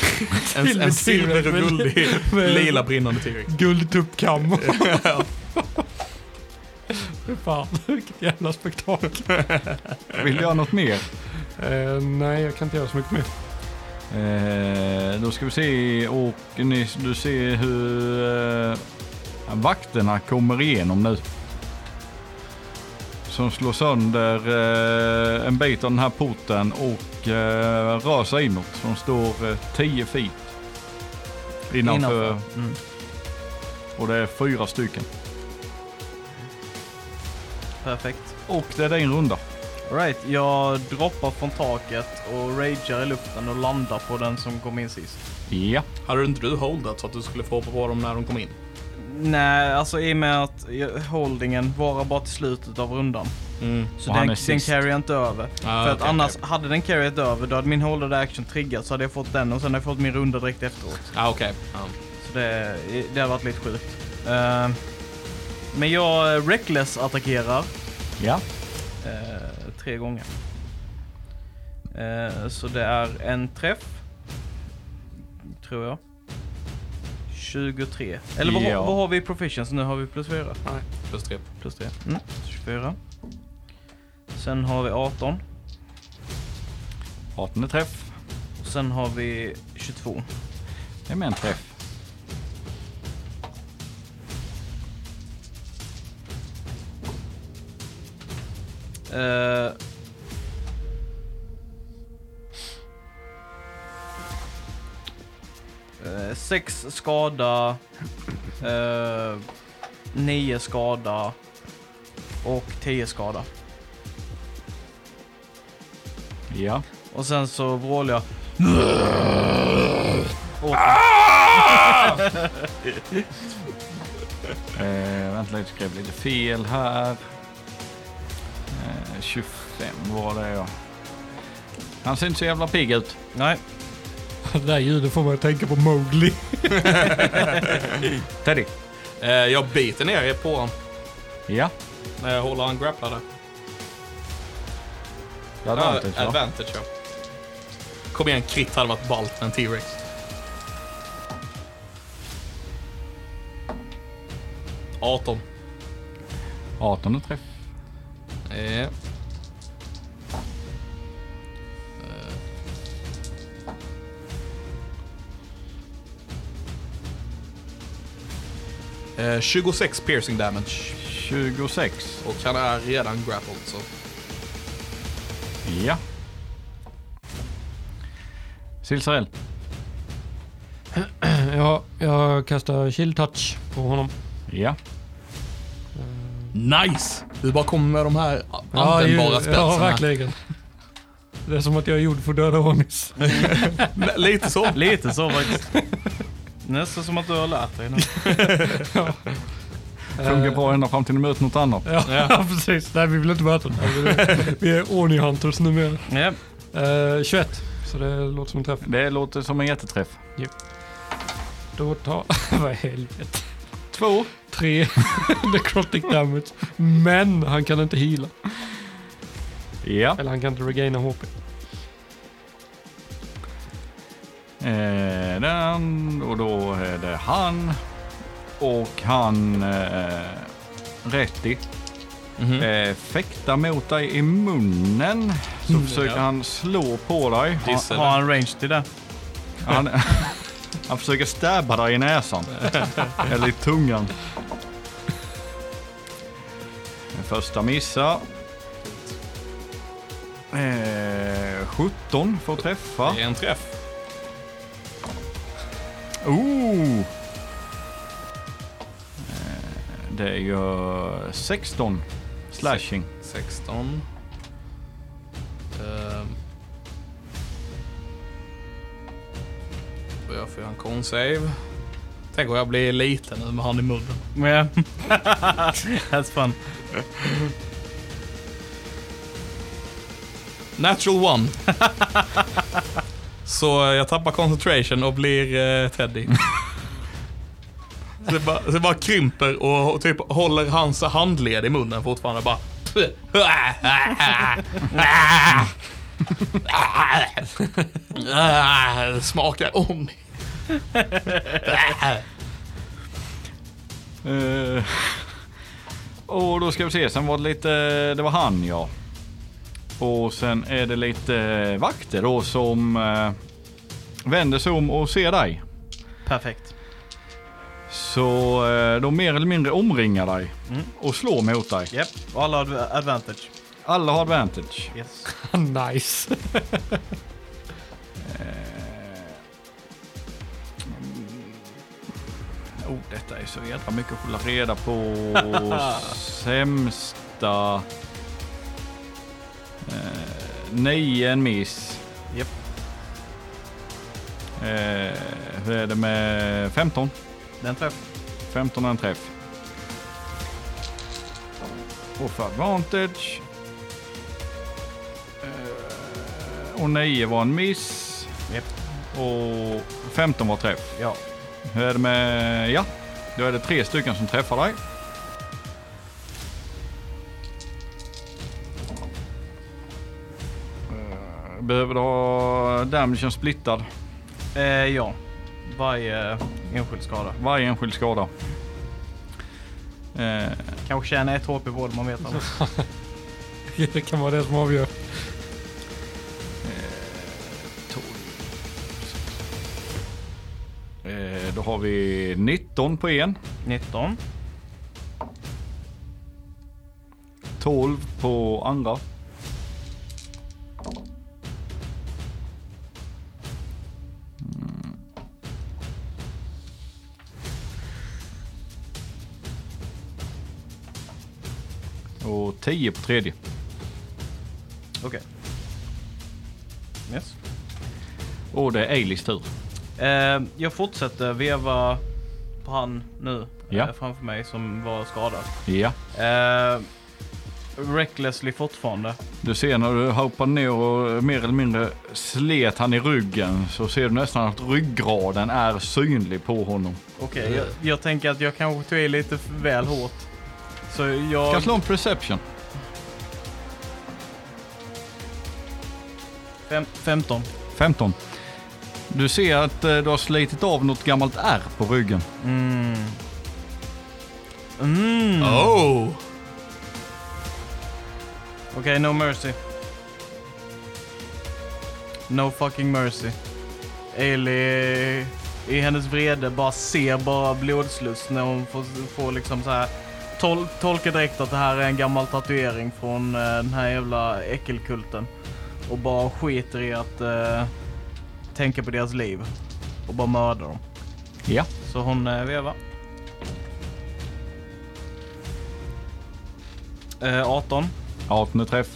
Speaker 1: En, en
Speaker 4: Silver
Speaker 1: silver och
Speaker 4: T-Rex, men-
Speaker 1: guldig
Speaker 4: (laughs) men-
Speaker 1: lila brinnande T-Rex.
Speaker 4: (laughs) Guldtuppkam. Fy Fan, vilket jävla spektakel.
Speaker 3: Vill du göra något mer?
Speaker 4: Eh, nej, jag kan inte göra så mycket mer.
Speaker 3: Eh, då ska vi se och ni, du ser hur eh, vakterna kommer igenom nu. Som slår sönder eh, en bit av den här porten och eh, rör sig inåt. Som står eh, 10 feet innanför.
Speaker 5: Mm.
Speaker 3: Och det är fyra stycken.
Speaker 2: Perfekt.
Speaker 3: Och det är din runda.
Speaker 2: All right, jag droppar från taket och ragear i luften och landar på den som kom in sist.
Speaker 3: Ja.
Speaker 1: Hade inte du holdat så att du skulle få hoppa på dem när de kom in?
Speaker 2: Nej, alltså i och med att jag- holdingen varar bara till slutet av rundan.
Speaker 1: Mm.
Speaker 2: Så
Speaker 3: Och han
Speaker 2: den,
Speaker 3: är
Speaker 2: den
Speaker 3: sist.
Speaker 2: carryar inte över.
Speaker 1: Ah,
Speaker 2: För att
Speaker 1: okej,
Speaker 2: annars,
Speaker 1: okej.
Speaker 2: hade den carryat över, då hade min holded action triggat så hade jag fått den och sen hade jag fått min runda direkt efteråt.
Speaker 1: Ah, okej. Ja.
Speaker 2: Så det, det har varit lite sjukt. Eh, men jag eh, reckless attackerar
Speaker 3: Ja.
Speaker 2: eh, tre gånger. Eh, så det är en träff. Tror jag. 23. Eller vad,
Speaker 3: Ja.
Speaker 2: vad har vi i proficiency nu? Har vi plus 4?
Speaker 1: Plus tre.
Speaker 2: Plus 3. Mm. 24. Sen har vi 18.
Speaker 3: 18 är träff.
Speaker 2: Och sen har vi 22.
Speaker 3: Det är med en träff.
Speaker 2: Eh. Eh, sex skada, eh, nio skada och tio skada.
Speaker 3: Ja.
Speaker 2: Och sen så vrålar jag.
Speaker 3: Eh, vänta lite, skrev lite fel här. Eh, 25 var det ja. Han ser inte så jävla pigg ut.
Speaker 2: Nej,
Speaker 4: Det där ljudet får man att tänka på Mowgli.
Speaker 3: Teddy.
Speaker 1: Eh, jag biter ner er på honom
Speaker 3: Ja.
Speaker 1: när jag håller han grapplade.
Speaker 3: Det hade varit ett, va?
Speaker 1: advantage ja. Kom igen, krit hade varit ballt med en T-Rex. Arton.
Speaker 3: 18 och träff.
Speaker 1: Eh. Eh. Eh, 26 piercing damage
Speaker 3: 26.
Speaker 1: och han är redan grappled så.
Speaker 3: Ja. Silsarell.
Speaker 4: Ja, jag kastar chill touch på honom.
Speaker 3: Ja.
Speaker 1: Nice! Du bara kommer med de här a-
Speaker 4: Ja,
Speaker 1: användbara
Speaker 4: ju-
Speaker 1: spetsen.
Speaker 4: Ja,
Speaker 1: här.
Speaker 4: verkligen. Det är som att jag är gjord för döda Onis.
Speaker 1: L- Lite
Speaker 4: (laughs)
Speaker 1: så.
Speaker 2: lite så faktiskt. Nästan som att du har lärt dig nu.
Speaker 3: Funkar bra ända fram till du möter något annat.
Speaker 4: Eh, (laughs) Ja, precis. Nej, vi vill inte möta den. Vi är- Vi är Oni Hunters numera.
Speaker 2: Ja.
Speaker 4: Eh, 21, så det låter som en träff.
Speaker 3: Det låter som en jätteträff.
Speaker 4: Då tar... (laughs) Vad i helvete.
Speaker 3: Två.
Speaker 4: Tre (laughs) necrotic damage. Men han kan inte heala.
Speaker 3: Ja.
Speaker 4: Eller han kan inte regaina HP.
Speaker 3: Eh, den och då är det han. Och han... Eh, Rätti.
Speaker 1: Mhm.
Speaker 3: Eh, fäkta mot dig i munnen. Så försöker
Speaker 1: Mm, Ja.
Speaker 3: han slå på dig. Han,
Speaker 1: Dissel.
Speaker 2: Har han range till det?
Speaker 3: han, (laughs) han försöker stabba dig
Speaker 1: (laughs)
Speaker 3: i näsan. Eller i tungan. Den första missar. Eh, 17 får träffa.
Speaker 1: Det är en träff.
Speaker 3: Oh! Eh, Det gör 16 slashing.
Speaker 1: 16. Ehm, får göra en con-save. Tänk om jag blir liten nu med han i munnen.
Speaker 2: Yeah. (laughs) That's fun.
Speaker 1: Natural one. (laughs) Så eh, jag tappar concentration och blir eh,
Speaker 3: (laughs)
Speaker 1: Teddy. Så det, bara, så det bara krymper och typ håller hans handled i munnen fortfarande bara. (laughs) Smakar
Speaker 3: (laughs)
Speaker 1: om. (laughs)
Speaker 3: Eh, och då ska vi se, sen var det lite, det var han ja. Och sen är det lite vakter då som eh, vänder sig om och ser dig.
Speaker 2: Perfekt.
Speaker 3: Så eh, de mer eller mindre omringar dig
Speaker 2: Mm.
Speaker 3: och slår mot dig.
Speaker 2: Yep. Alla har adv- advantage.
Speaker 3: Alla har advantage.
Speaker 2: Yes.
Speaker 4: (laughs) nice. (laughs)
Speaker 3: Oh, detta är så jävla mycket att hålla reda på. Sämsta... Eh, nio, en miss.
Speaker 2: Japp.
Speaker 3: Eh, hur är det med 15?
Speaker 2: Den träff.
Speaker 3: 15 är en träff. Och för advantage. Eh, och 9 var en miss.
Speaker 2: Japp.
Speaker 3: Och 15 var träff.
Speaker 2: Ja.
Speaker 3: Hur är det med... Ja, då är det tre stycken som träffar dig. Eh, Behöver du ha damagen splittad?
Speaker 2: Eh, ja. Varje enskild skada.
Speaker 3: Varje enskild skada. Eh,
Speaker 2: Kanske tjäna ett HP på det, man vet aldrig.
Speaker 4: Det kan vara det som avgör.
Speaker 3: 12. Eh, Då har vi 19 på en,
Speaker 2: 19.
Speaker 3: 12 på andra. Mm. Och 10 på tredje.
Speaker 2: Okej. Yes.
Speaker 3: Och det är Eilis tur.
Speaker 2: Eh, jag fortsätter veva på han nu
Speaker 3: Ja.
Speaker 2: eh, framför mig som var skadad.
Speaker 3: Ja.
Speaker 2: Eh, recklessly fortfarande.
Speaker 3: Du ser när du hoppar ner och mer eller mindre slet han i ryggen så ser du nästan att ryggraden är synlig på honom.
Speaker 2: Okej, jag, jag tänker att jag kanske tog i lite f- väl hårt. Så
Speaker 3: Kan
Speaker 2: jag...
Speaker 3: jag slå en perception?
Speaker 2: Fem, 15.
Speaker 3: 15. Du ser att eh, du har slitit av något gammalt ärr på ryggen.
Speaker 2: Mm. Mm.
Speaker 1: Oh!
Speaker 2: Okej, no mercy. No fucking mercy. Ailey i hennes vrede bara ser bara blodsluss när hon får, får liksom så här tol tolka direkt att det här är en gammal tatuering från eh, den här jävla äckelkulten. Och bara skiter i att eh, tänka på deras liv. Och bara mördar dem.
Speaker 3: Ja.
Speaker 2: Så hon eh, vevar. Eh, 18.
Speaker 3: 18 träff.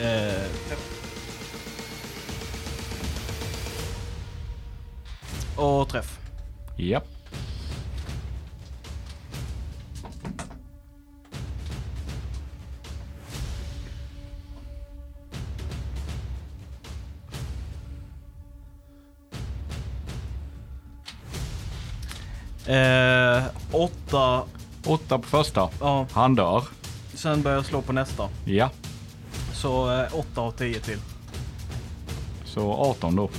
Speaker 2: Eh, och träff.
Speaker 3: Ja.
Speaker 2: Eh, åtta.
Speaker 3: 8 på första.
Speaker 2: Ja,
Speaker 3: Han dör.
Speaker 2: sen börjar jag slå på nästa.
Speaker 3: Ja.
Speaker 2: Så eh, åtta och tio till.
Speaker 3: Så 18 då.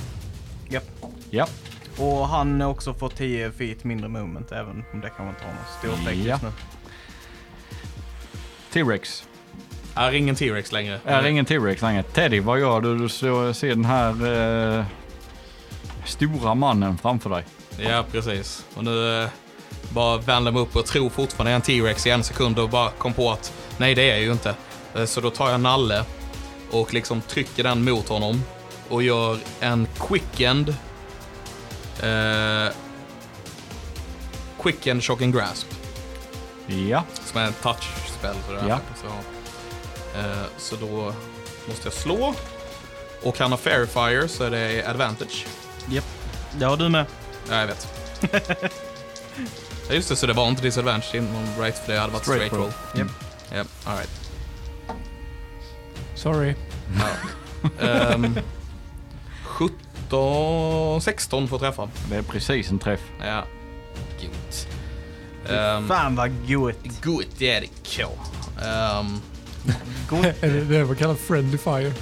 Speaker 2: Japp.
Speaker 3: Ja.
Speaker 2: Och han har också fått 10 feet mindre movement även om det kan man inte ha någon stor effekt
Speaker 3: Ja.
Speaker 2: just nu.
Speaker 3: T-Rex.
Speaker 1: Är ingen T-Rex längre.
Speaker 3: Är ingen T-Rex längre. Teddy, vad gör du? Du ser ser den här eh, stora mannen framför dig.
Speaker 1: Ja, precis. Och nu eh, bara vänder mig upp och tror fortfarande jag är en T-Rex i en sekund och bara kom på att nej, det är jag ju inte. Eh, Så då tar jag nalle och liksom trycker den mot honom och gör en quickend. Eh, quickend shock and grasp.
Speaker 3: Ja.
Speaker 1: Som är en touch-spel. Så, det är
Speaker 3: Ja.
Speaker 1: så, eh, så då måste jag slå. Och han har Fairfire så är det advantage.
Speaker 2: Japp. Det har du med.
Speaker 1: Ja, jag vet. ja, just det, så det var inte disadvantage inom right för det hade varit
Speaker 3: Straight
Speaker 1: straight roll.
Speaker 2: Japp.
Speaker 1: Yep, all right.
Speaker 4: Sorry.
Speaker 1: Ja. Ehm, 17, 16 får träffa.
Speaker 3: Det är precis en träff.
Speaker 1: Ja. Gott. Um,
Speaker 2: Fan vad goet.
Speaker 1: gott är det K. Ehm,
Speaker 4: Är det det man kallar friendly fire?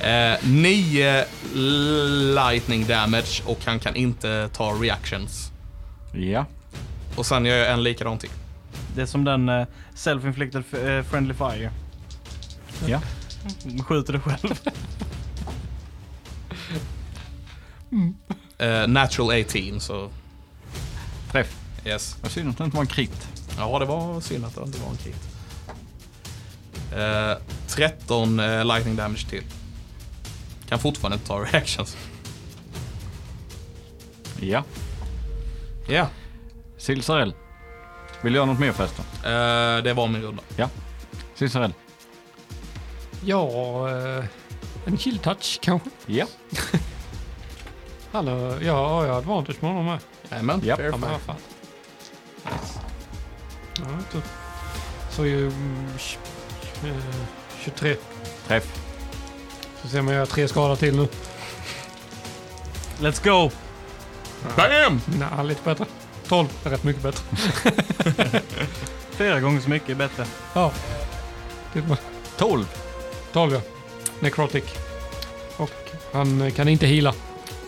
Speaker 1: eh, nio lightning damage och han kan inte ta reactions.
Speaker 3: Ja.
Speaker 1: Och sen gör jag en likadan till.
Speaker 2: Det är som den eh, self-inflicted f- eh, friendly fire.
Speaker 3: Ja.
Speaker 2: Skjuter du själv.
Speaker 1: Eh, natural 18, så
Speaker 3: Träff.
Speaker 1: yes.
Speaker 3: Vad synd att det inte var en krit.
Speaker 1: Ja, det var synd att det inte var en kit. Eh, 13 eh, lightning damage till. Kan fortfarande inte ta reactions.
Speaker 3: Ja.
Speaker 1: Ja,
Speaker 3: Silsarell. Vill du göra något mer förresten?
Speaker 1: eh, det var min runda.
Speaker 3: Silsarell.
Speaker 4: Ja, eh, en chill touch kanske.
Speaker 3: Ja.
Speaker 4: Han har, ja, har jag advantage med honom med?
Speaker 1: Jajamän,
Speaker 3: Japp.
Speaker 1: fair
Speaker 4: Ja, men
Speaker 1: fire.
Speaker 4: vad fan. Ja, typ. Så är ju... mm, tj- eh, 23.
Speaker 3: Träff.
Speaker 4: Så ser man jag har tre skador till nu.
Speaker 2: Let's go!
Speaker 1: Bam!
Speaker 4: Nej, lite bättre. 12 är rätt
Speaker 1: (laughs)
Speaker 4: mycket bättre.
Speaker 2: Fyra gånger så mycket är bättre.
Speaker 4: Ja. Det var
Speaker 3: 12.
Speaker 4: 12 ja. Necrotic. Och han eh, kan inte hila.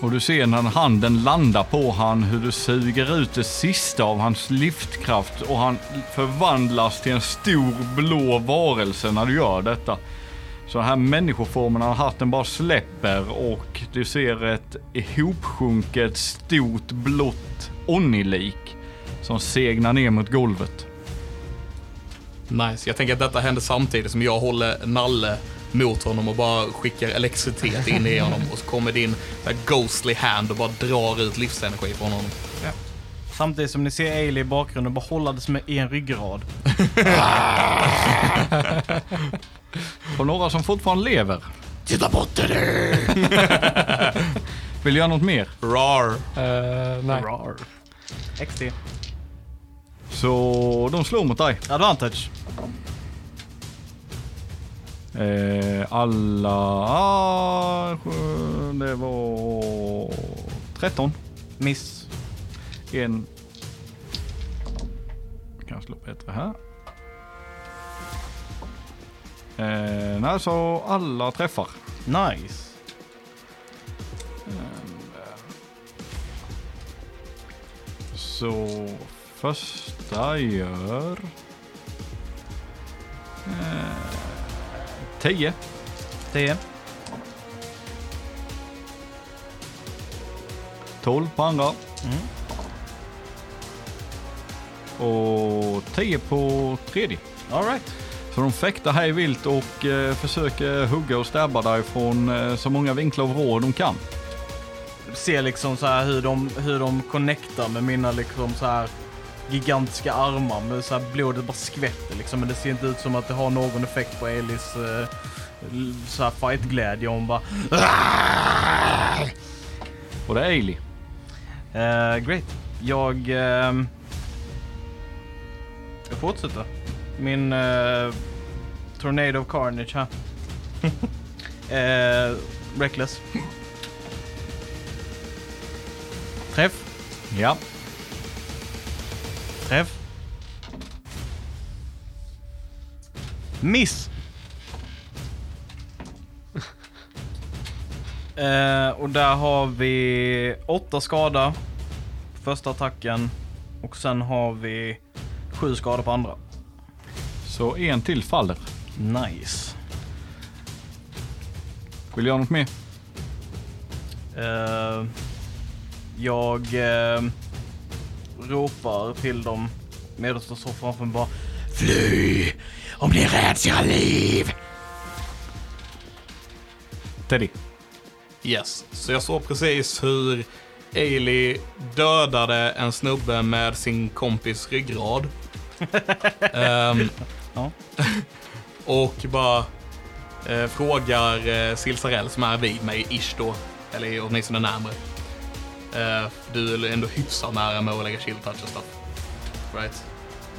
Speaker 3: Och du ser när handen landar på han hur du suger ut det sista av hans livskraft och han förvandlas till en stor blå varelse när du gör detta. Så den här människoformen han har haft den bara släpper och du ser ett ihopsjunket stort blått onnilik som segnar ner mot golvet.
Speaker 1: Nice. Jag tänker att detta händer samtidigt som jag håller Nalle mot honom och bara skickar elektricitet in i honom och så kommer din där ghostly hand och bara drar ut livsenergi från honom.
Speaker 2: Samtidigt som ni ser Ailey i bakgrunden bara hållades med i en ryggrad.
Speaker 3: Och några som fortfarande lever.
Speaker 1: Titta bort det
Speaker 3: Vill du göra något mer?
Speaker 1: Rar.
Speaker 4: Eh, nej.
Speaker 2: XT.
Speaker 3: Så de slår mot dig.
Speaker 2: Advantage.
Speaker 3: Eh, alla... ah, sju- Det var 13.
Speaker 2: Miss.
Speaker 3: En... Jag kan slå bättre här. Eh, nej, så alla träffar.
Speaker 2: Nice.
Speaker 3: Så första gör... Eh, 10.
Speaker 2: 10.
Speaker 3: 12 på andra.
Speaker 2: Mm.
Speaker 3: Och 10 på tredje.
Speaker 2: Alright.
Speaker 3: Så de fäktar här i vilt och eh, försöker hugga och stabba dig från eh, så många vinklar och vrår de kan.
Speaker 2: Ser liksom så här hur de, hur de connectar med mina liksom så här gigantiska armar. Med så här blodet bara skvätter liksom. Men det ser inte ut som att det har någon effekt på Aileys eh, l- så här fightglädje. Hon bara... "Ah!"
Speaker 3: Och det är Ailey.
Speaker 2: Eh, great. Jag... ehm, jag fortsätter. Min eh, Tornado of Carnage här. (laughs) Eh, reckless. Träff.
Speaker 3: Ja.
Speaker 2: Träff. Miss! (laughs) Eh, och där har vi åtta skada på första attacken. Och sen har vi sju skada på andra.
Speaker 3: Så en till faller.
Speaker 2: Nice.
Speaker 3: Vill du göra något mer?
Speaker 2: Eh, jag eh, ropar till dem medan de står framför mig bara Fly! Om ni räds era liv!
Speaker 3: Teddy.
Speaker 1: Yes. Så jag såg precis hur Ailey dödade en snubbe med sin kompis ryggrad. Ehm, (laughs)
Speaker 2: Ja.
Speaker 1: och bara Eh, frågar eh, Silsarell som är vid mig, ish då, eller åtminstone närmare. Eh, du är ändå hyfsat nära med att lägga shield touch och stuff. Right?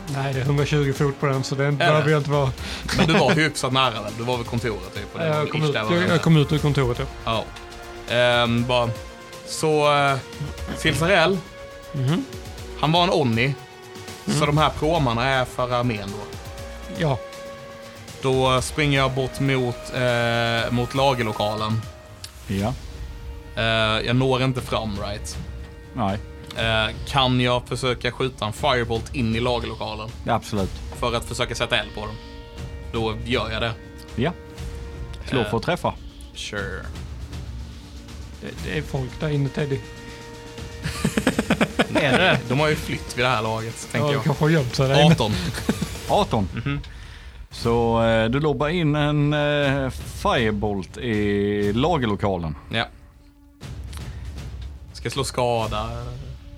Speaker 4: Nej, det är 120 fot på den så den
Speaker 1: Är
Speaker 4: behöver
Speaker 1: det?
Speaker 4: jag inte vara.
Speaker 1: Men du var hyfsat nära väl? Du var väl kontoret typ? och det var
Speaker 4: Jag kom,
Speaker 1: ish
Speaker 4: ut,
Speaker 1: där var
Speaker 4: jag,
Speaker 1: den
Speaker 4: jag
Speaker 1: där.
Speaker 4: kom ut ur kontoret ja.
Speaker 1: Ja. Ehm, bara. Så eh, Silsarell,
Speaker 4: Mhm. Mm.
Speaker 1: han var en Onni. Så de här pråmarna är för armén då.
Speaker 4: Ja,
Speaker 1: Då springer jag bort mot, eh, mot lagerlokalen.
Speaker 3: Ja.
Speaker 1: Eh, jag når inte fram right.
Speaker 3: Nej.
Speaker 1: Eh, kan jag försöka skjuta en firebolt in i lagerlokalen
Speaker 3: Absolut.
Speaker 1: för att försöka sätta eld på dem? Då gör jag det.
Speaker 3: Ja. Slå
Speaker 1: Eh.
Speaker 3: för att träffa.
Speaker 1: Sure.
Speaker 4: det, det är folk där inne Teddy.
Speaker 2: (laughs)
Speaker 1: Är det? Eh, De har ju flytt vid det här laget, tänker
Speaker 4: Ja, de
Speaker 1: jag.
Speaker 4: kanske har gömt sig där inne.
Speaker 1: 18.
Speaker 3: 18.
Speaker 1: Mhm.
Speaker 3: Så eh, du lobbar in en eh, firebolt i lagerlokalen.
Speaker 1: Ja. Ska slå skada.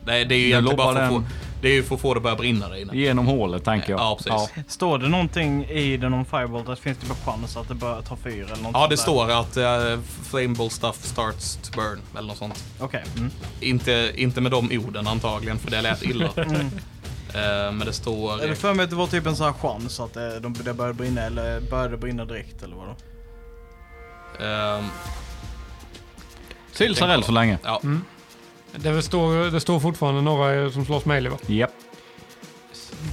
Speaker 1: Nej, det är ju
Speaker 3: Du
Speaker 1: egentligen bara
Speaker 3: lobbar
Speaker 1: för att, få,
Speaker 3: den.
Speaker 1: det är ju för att få det att börja brinna där inne.
Speaker 3: Genom hålet tänker jag.
Speaker 1: Ja, precis.
Speaker 2: Står det någonting i den om Firebolt? Att finns typ det bara chans att det börjar ta fyr eller något
Speaker 1: Ja, det
Speaker 2: sånt
Speaker 1: står att uh, flammable stuff starts to burn, eller något sånt.
Speaker 2: där? Okej. Mm.
Speaker 1: Inte, inte med de orden antagligen, för det lät illa. Eh, men det står...
Speaker 2: Eller för mig att det var typ en sån här chans att eh, de, det började brinna eller började brinna direkt eller vadå?
Speaker 1: ehm,
Speaker 3: Silsarell så länge.
Speaker 1: ja.
Speaker 4: Det står, det står fortfarande några som slåss med Eli va?
Speaker 3: Japp.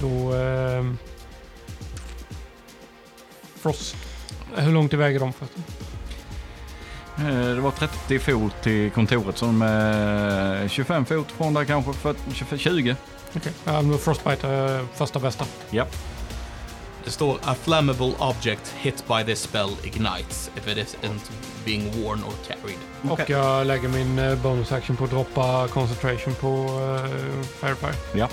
Speaker 4: Då... ehm, Frost. Hur långt iväg är de? förresten?
Speaker 3: Eh, Det var 30 fot till kontoret som eh, 25 fot från där kanske, 40, 25, 20.
Speaker 4: Okej. Ja, men Frostbite är första bästa.
Speaker 3: Japp.
Speaker 1: Det står a flammable object hit by this spell ignites if it isn't being worn or carried.
Speaker 2: Okej.
Speaker 4: Och jag lägger min eh, bonus action på att droppa concentration på uh, Firefly.
Speaker 3: Ja.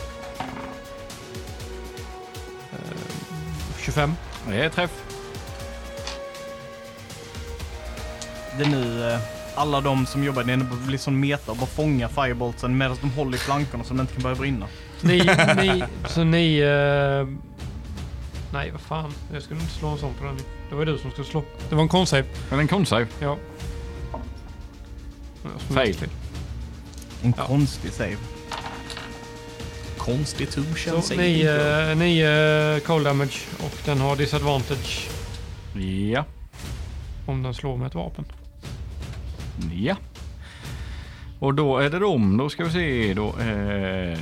Speaker 4: Eh, 25.
Speaker 3: Det är träff.
Speaker 2: Det är nu eh, alla de som jobbar där inne blir som meta och bara fångar Fireboltsen medan de håller i plankorna så de inte kan börja brinna.
Speaker 4: Ni, (laughs) ni, så ni... eh, nej, vad fan. Jag skulle inte slå en sån på den. Det var ju du som skulle slå. Det var en consave.
Speaker 3: Är det en konstsave?
Speaker 4: Ja.
Speaker 3: Fail.
Speaker 2: En konstig save.
Speaker 1: Constitution
Speaker 4: Så
Speaker 1: säger
Speaker 4: ni,
Speaker 1: inte jag.
Speaker 4: eh, ni eh, cold damage och den har disadvantage
Speaker 3: Ja.
Speaker 4: om den slår med ett vapen.
Speaker 3: Ja. Och då är det dem. Då ska vi se. Då, eh,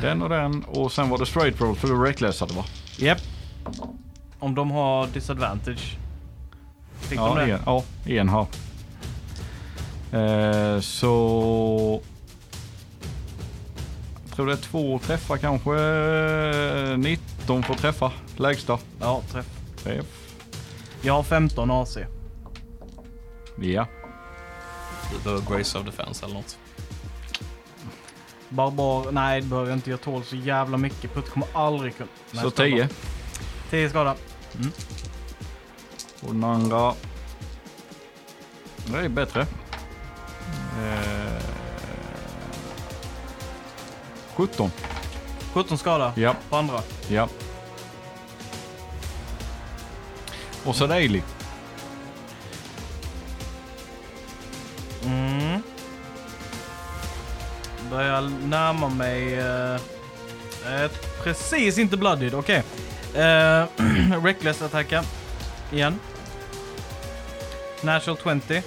Speaker 3: den och den. Och sen var det straight roll för du recklessade va?
Speaker 2: Japp. Om de har disadvantage. Fick de
Speaker 3: Ja,
Speaker 2: det?
Speaker 3: en, ja, en har. Eh, så... Jag tror det är två träffar kanske. 19 får träffa. Lägsta.
Speaker 2: Ja, träff.
Speaker 3: Träff.
Speaker 2: Jag har 15 AC.
Speaker 3: Ja.
Speaker 1: Du behöver Grace of Defense eller något.
Speaker 2: Barbar, nej det behöver jag inte. Jag tål så jävla mycket. Putt kommer aldrig kunna. Nej,
Speaker 3: så
Speaker 2: stämmer.
Speaker 3: 10.
Speaker 2: 10 skada.
Speaker 3: Och den andra. Det är bättre. Eh, 17.
Speaker 2: 17 skada
Speaker 3: Ja,
Speaker 2: på andra.
Speaker 3: ja. Och så Daily.
Speaker 2: Mm. Börjar närma mig... eh, eh, precis inte bloodied, okej. Eh, (clears throat) reckless attacka. Igen. Natural 20.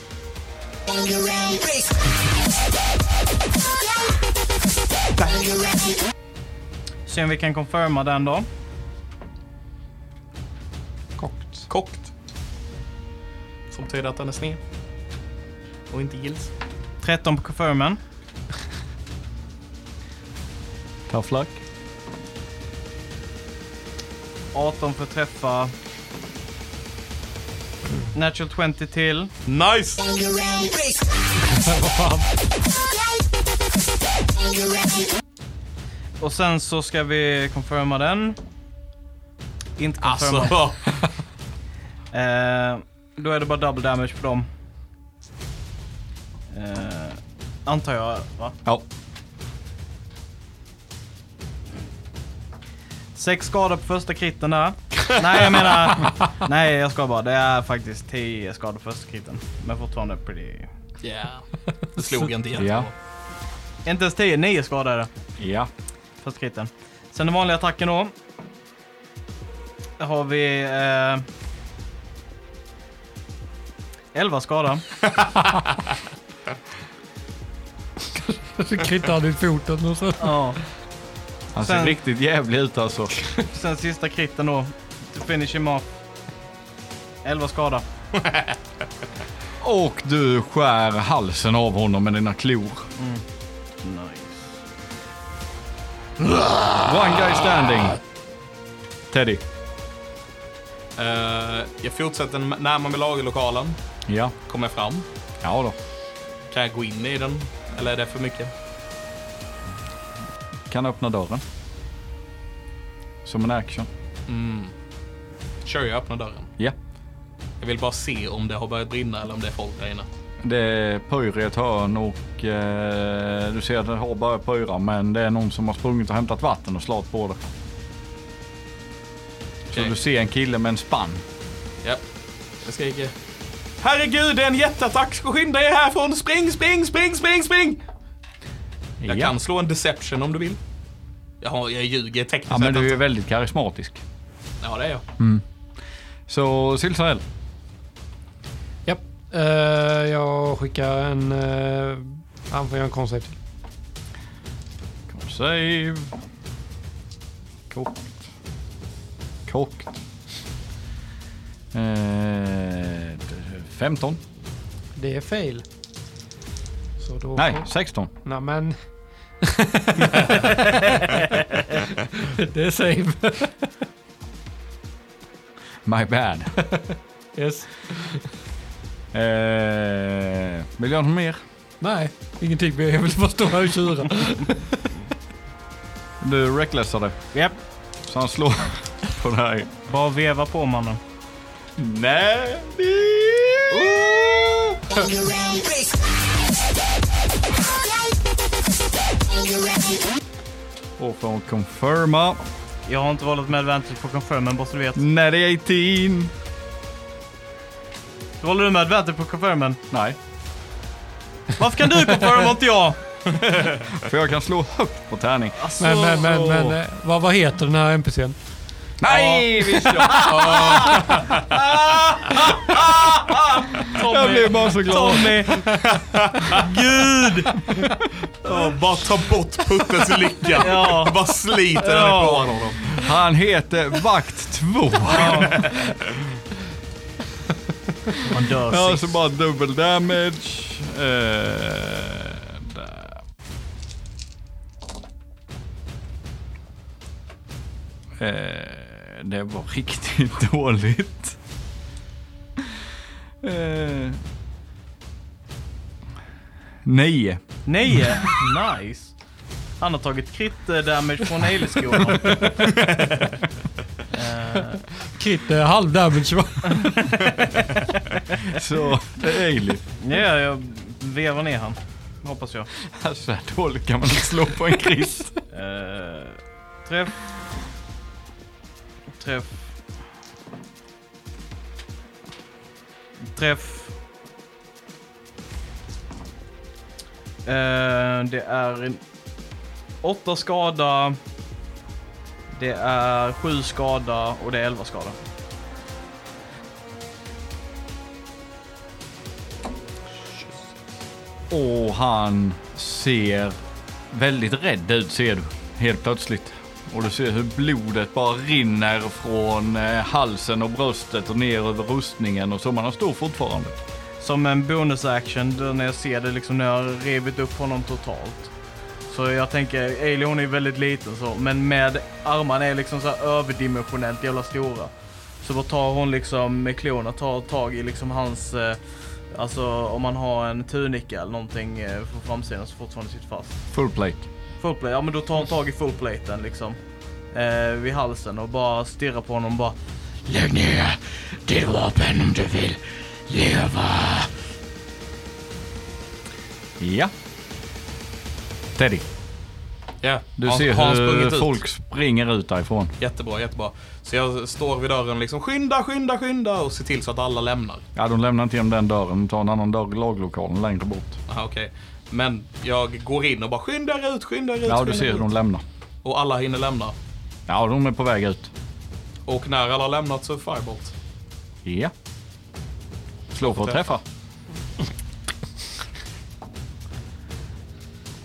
Speaker 2: Se om vi kan confirma den då.
Speaker 4: Kokt.
Speaker 1: Kokt. Som betyder att den är sned. Och inte gills.
Speaker 2: 13 på confirmen.
Speaker 3: Tough luck.
Speaker 2: 18 för att träffa. Natural 20 till.
Speaker 1: Nice!
Speaker 2: Och sen så ska vi confirma den. Inte confirma.
Speaker 1: Alltså.
Speaker 2: Eh, då är det bara double damage på dem. Eh, antar jag, va?
Speaker 3: Ja.
Speaker 2: Sex skada på första kritten där. Nej jag menar, nej jag ska bara. Det är faktiskt 10 skador första kriten. Men fortfarande pretty...
Speaker 1: (laughs) Yeah. Slog en del.
Speaker 3: Ja.
Speaker 2: Inte ens 10, 9 skador är det.
Speaker 3: Ja.
Speaker 2: Första kriten. Sen den vanliga attacken då. Där har vi... Eh, 11 skada.
Speaker 4: Så krittar han i foten och så.
Speaker 2: Ja.
Speaker 3: Han ser
Speaker 2: Sen-
Speaker 3: riktigt jävlig ut alltså.
Speaker 2: Sen sista kritten då. To finish him off. 11 skada.
Speaker 3: Och du skär halsen av honom med dina klor.
Speaker 2: Nice.
Speaker 3: One guy standing. Teddy.
Speaker 1: Eh, jag fortsätter närma mig lagerlokalen.
Speaker 3: Ja.
Speaker 1: Kommer fram.
Speaker 3: Ja då.
Speaker 1: Kan jag gå in i den? Eller är det för mycket?
Speaker 3: Kan öppna dörren. Som en action.
Speaker 1: Kör jag öppnar dörren.
Speaker 3: Ja.
Speaker 1: Jag vill bara se om det har börjat brinna eller om det är folk där inne.
Speaker 3: Det är pyr i ett hörn och eh, du ser att det har börjat pyra men det är någon som har sprungit och hämtat vatten och slagit på det. Så
Speaker 1: Okej.
Speaker 3: du ser en kille med en spann.
Speaker 1: Ja. Jag skriker. Herregud, det är en jätteattack! Skynda er härifrån! Spring, spring, spring, spring, spring! Jag
Speaker 3: ja.
Speaker 1: kan slå en deception om du vill. Jag, har, jag ljuger tekniskt
Speaker 3: ja men
Speaker 1: sett
Speaker 3: du är
Speaker 1: att-
Speaker 3: väldigt karismatisk.
Speaker 1: Ja, det är jag.
Speaker 3: Så Silsarell.
Speaker 4: Japp. Eh, jag skickar en... eh, han får göra en koncept.
Speaker 3: Come save. Kokt. Kokt. Eh, d- 15.
Speaker 4: Det är fel. Så då...
Speaker 3: Nej, 16.
Speaker 4: Nej men... det är save.
Speaker 3: My bad.
Speaker 4: Yes.
Speaker 3: Eh, vill jag ha något mer?
Speaker 4: Nej, ingenting mer. Jag vill bara stå här och tjura.
Speaker 3: Du recklessade.
Speaker 2: Japp.
Speaker 3: Så han slår (laughs) på dig.
Speaker 2: Bara veva på mannen.
Speaker 3: Nej! Oh! Och för att confirma.
Speaker 2: Jag har inte valt med advantage på confirm, men bara så du vet.
Speaker 3: Nej, det är 18.
Speaker 2: Då håller du med advantage på confirmen.
Speaker 3: Nej,
Speaker 2: Varför kan du confirma och inte jag?
Speaker 3: för jag kan slå högt på tärning.
Speaker 2: Alltså,
Speaker 4: Men, men, men, men eh, vad, vad heter den här NPCn?
Speaker 3: Nej, visst (laughs) Jag
Speaker 2: Tommy,
Speaker 3: blev bara så glad.
Speaker 2: Tommy! Gud!
Speaker 1: bara ta bort Puttes lycka.
Speaker 3: (laughs)
Speaker 2: Ja.
Speaker 1: Bara sliter
Speaker 2: den Ja. ifrån
Speaker 1: honom.
Speaker 3: Han heter Vakt 2.
Speaker 2: Man dör
Speaker 3: Ja,
Speaker 2: sist.
Speaker 3: så bara dubbel damage. Eh, där. Eh, det var riktigt (laughs) dåligt. Eh, nio.
Speaker 2: Nej! Nice. Han har tagit crit eh, damage från Ailesskolan. (laughs) uh,
Speaker 4: Krit eh, halv damage va?
Speaker 3: Så det är Ailey.
Speaker 2: ja, jag vevar ner han. Hoppas jag.
Speaker 3: Alltså, (laughs) så här dåligt kan man inte slå på en kris.
Speaker 2: Eh, träff. Träff. Träff. Eh, det är en åtta skada. Det är sju skada och det är elva skada.
Speaker 3: Och han ser väldigt rädd ut ser du helt plötsligt. Och du ser hur blodet bara rinner från eh, halsen och bröstet och ner över rustningen och så man står fortfarande.
Speaker 2: Som en bonusaction då när jag ser det liksom när jag har rivit upp honom totalt. Så jag tänker, Ailey hon är väldigt liten så, men med armarna är liksom så här överdimensionellt jävla stora. Så då tar hon liksom med klorna, tar tag i liksom hans, eh, alltså om man har en tunika eller någonting eh, från framsidan så fortfarande sitter fast.
Speaker 3: Full plate.
Speaker 2: Fullplate, ja men då tar hon tag i fullplaten liksom. Eh, vid halsen och bara stirrar på honom och bara.
Speaker 5: Lägg ner ditt vapen om du vill leva.
Speaker 3: Ja. Teddy.
Speaker 1: Ja.
Speaker 3: Du
Speaker 1: Har-
Speaker 3: ser
Speaker 1: har han
Speaker 3: hur
Speaker 1: sprungit ut?
Speaker 3: folk springer ut därifrån.
Speaker 1: Jättebra, jättebra. Så jag står vid dörren liksom skynda, skynda, skynda och ser till så att alla lämnar.
Speaker 3: Ja, de lämnar inte genom den dörren. De tar en annan dörr i laglokalen längre bort.
Speaker 1: Aha, okej. Men jag går in och bara skynda er ut, skynda er ut,
Speaker 3: Ja, du
Speaker 1: skynda er
Speaker 3: ser hur
Speaker 1: ut.
Speaker 3: de lämnar.
Speaker 1: Och alla hinner lämna.
Speaker 3: Ja, de är på väg ut.
Speaker 1: Och när alla har lämnat så är Firebolt.
Speaker 3: Ja. Slå för att träffa.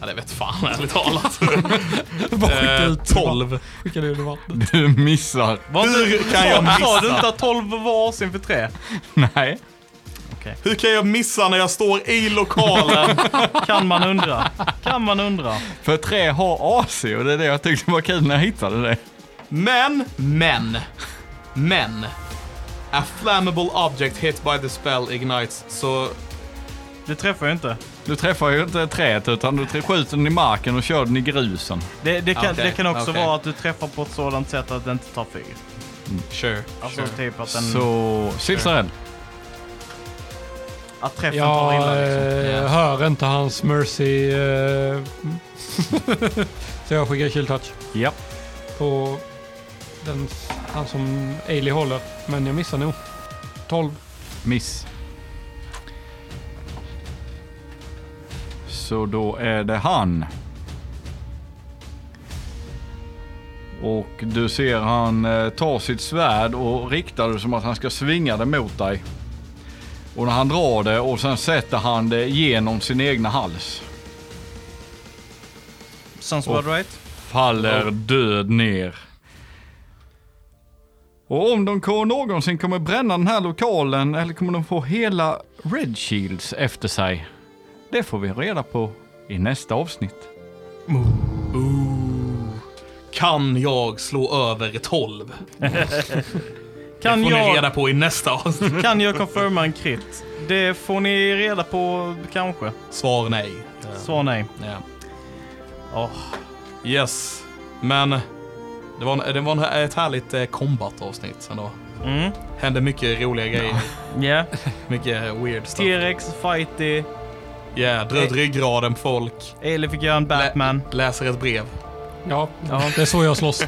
Speaker 1: Ja, det vet fan ärligt talat. (laughs)
Speaker 4: Bara skicka
Speaker 1: eh,
Speaker 4: ut det.
Speaker 1: 12.
Speaker 4: Skicka ner det i vattnet.
Speaker 3: Du missar.
Speaker 1: Hur kan jag
Speaker 2: Sa du inte
Speaker 1: missa?
Speaker 2: att 12 varsin för tre?
Speaker 3: Nej.
Speaker 1: Hur kan jag missa när jag står i lokalen?
Speaker 2: Kan man undra. Kan man undra.
Speaker 3: För tre har AC och det är det jag tyckte var kul när jag hittade det.
Speaker 1: Men, men, men. A flammable object hit by the spell ignites. Så
Speaker 2: Det träffar ju inte.
Speaker 3: Du träffar ju inte träet utan du trä- skjuter den i marken och kör den i grusen.
Speaker 2: Det, det, kan,
Speaker 1: Okej,
Speaker 2: det kan också
Speaker 1: okej.
Speaker 2: vara att du träffar på ett sådant sätt att det inte tar fyr.
Speaker 1: sure.
Speaker 2: Alltså
Speaker 1: sure.
Speaker 2: typ att, den,
Speaker 3: Så, Silsarell.
Speaker 2: att träffen tar
Speaker 4: Jag
Speaker 2: illa liksom.
Speaker 4: eh, hör inte hans mercy. eh, (laughs) så jag skickar chill touch
Speaker 3: Ja.
Speaker 4: på den, han som Ailey håller. Men jag missar nog. 12.
Speaker 3: Miss. Så då är det han. Och du ser han eh, tar sitt svärd och riktar det som att han ska svinga det mot dig. Och när han drar det och sen sätter han det genom sin egna hals.
Speaker 2: Sounds about right.
Speaker 3: faller död ner. Och om de ko- någonsin kommer bränna den här lokalen eller kommer de få hela Red Shields efter sig? Det får vi reda på i nästa avsnitt.
Speaker 1: Kan jag slå över 12?
Speaker 2: Kan
Speaker 1: Får ni
Speaker 2: jag,
Speaker 1: reda på i nästa avsnitt.
Speaker 2: kan jag confirma en crit? Det får ni reda på kanske.
Speaker 1: Svar nej. Ja.
Speaker 2: Svar nej.
Speaker 1: Ja.
Speaker 2: Åh.
Speaker 1: Yes, men det var, en, det var en, ett härligt eh, combat-avsnitt ändå.
Speaker 2: Mm.
Speaker 1: Hände mycket roliga grejer.
Speaker 2: Yeah.
Speaker 1: Mycket weird stuff. Ja,
Speaker 2: T-Rex, fighty,
Speaker 1: yeah, dröt ryggraden på folk.
Speaker 2: Ailey fick göra en Batman.
Speaker 1: Läser ett brev.
Speaker 4: Ja,
Speaker 2: Ja.
Speaker 4: det är så jag slåss.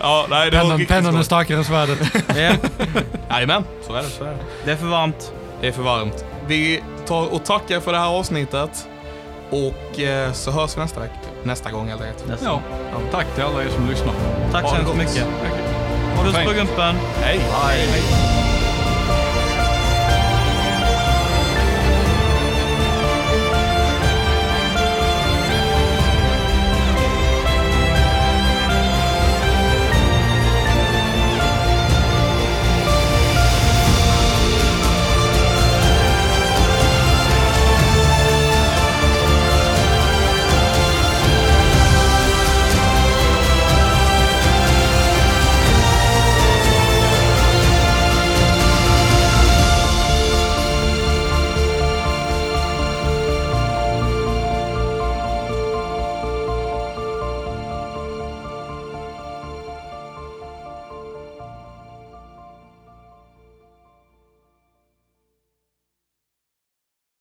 Speaker 1: Ja, nej, det var
Speaker 4: Pennan,
Speaker 1: riktigt
Speaker 4: pennan är
Speaker 1: skoj.
Speaker 4: starkare än svärdet.
Speaker 2: Yeah.
Speaker 1: Jajamän, så är det. Så är det.
Speaker 2: Det är för varmt.
Speaker 1: det är för varmt. Vi tar och tackar för det här avsnittet. Och eh, så hörs vi nästa vecka. Nästa gång helt enkelt.
Speaker 2: Nästa.
Speaker 3: Ja, tack till alla er som lyssnar.
Speaker 2: Tack
Speaker 1: Ha
Speaker 2: så
Speaker 1: det
Speaker 2: hemskt
Speaker 1: gott.
Speaker 2: mycket.
Speaker 3: Tack.
Speaker 2: Puss på
Speaker 3: fint.
Speaker 2: gumpen.
Speaker 1: Hej! Hej.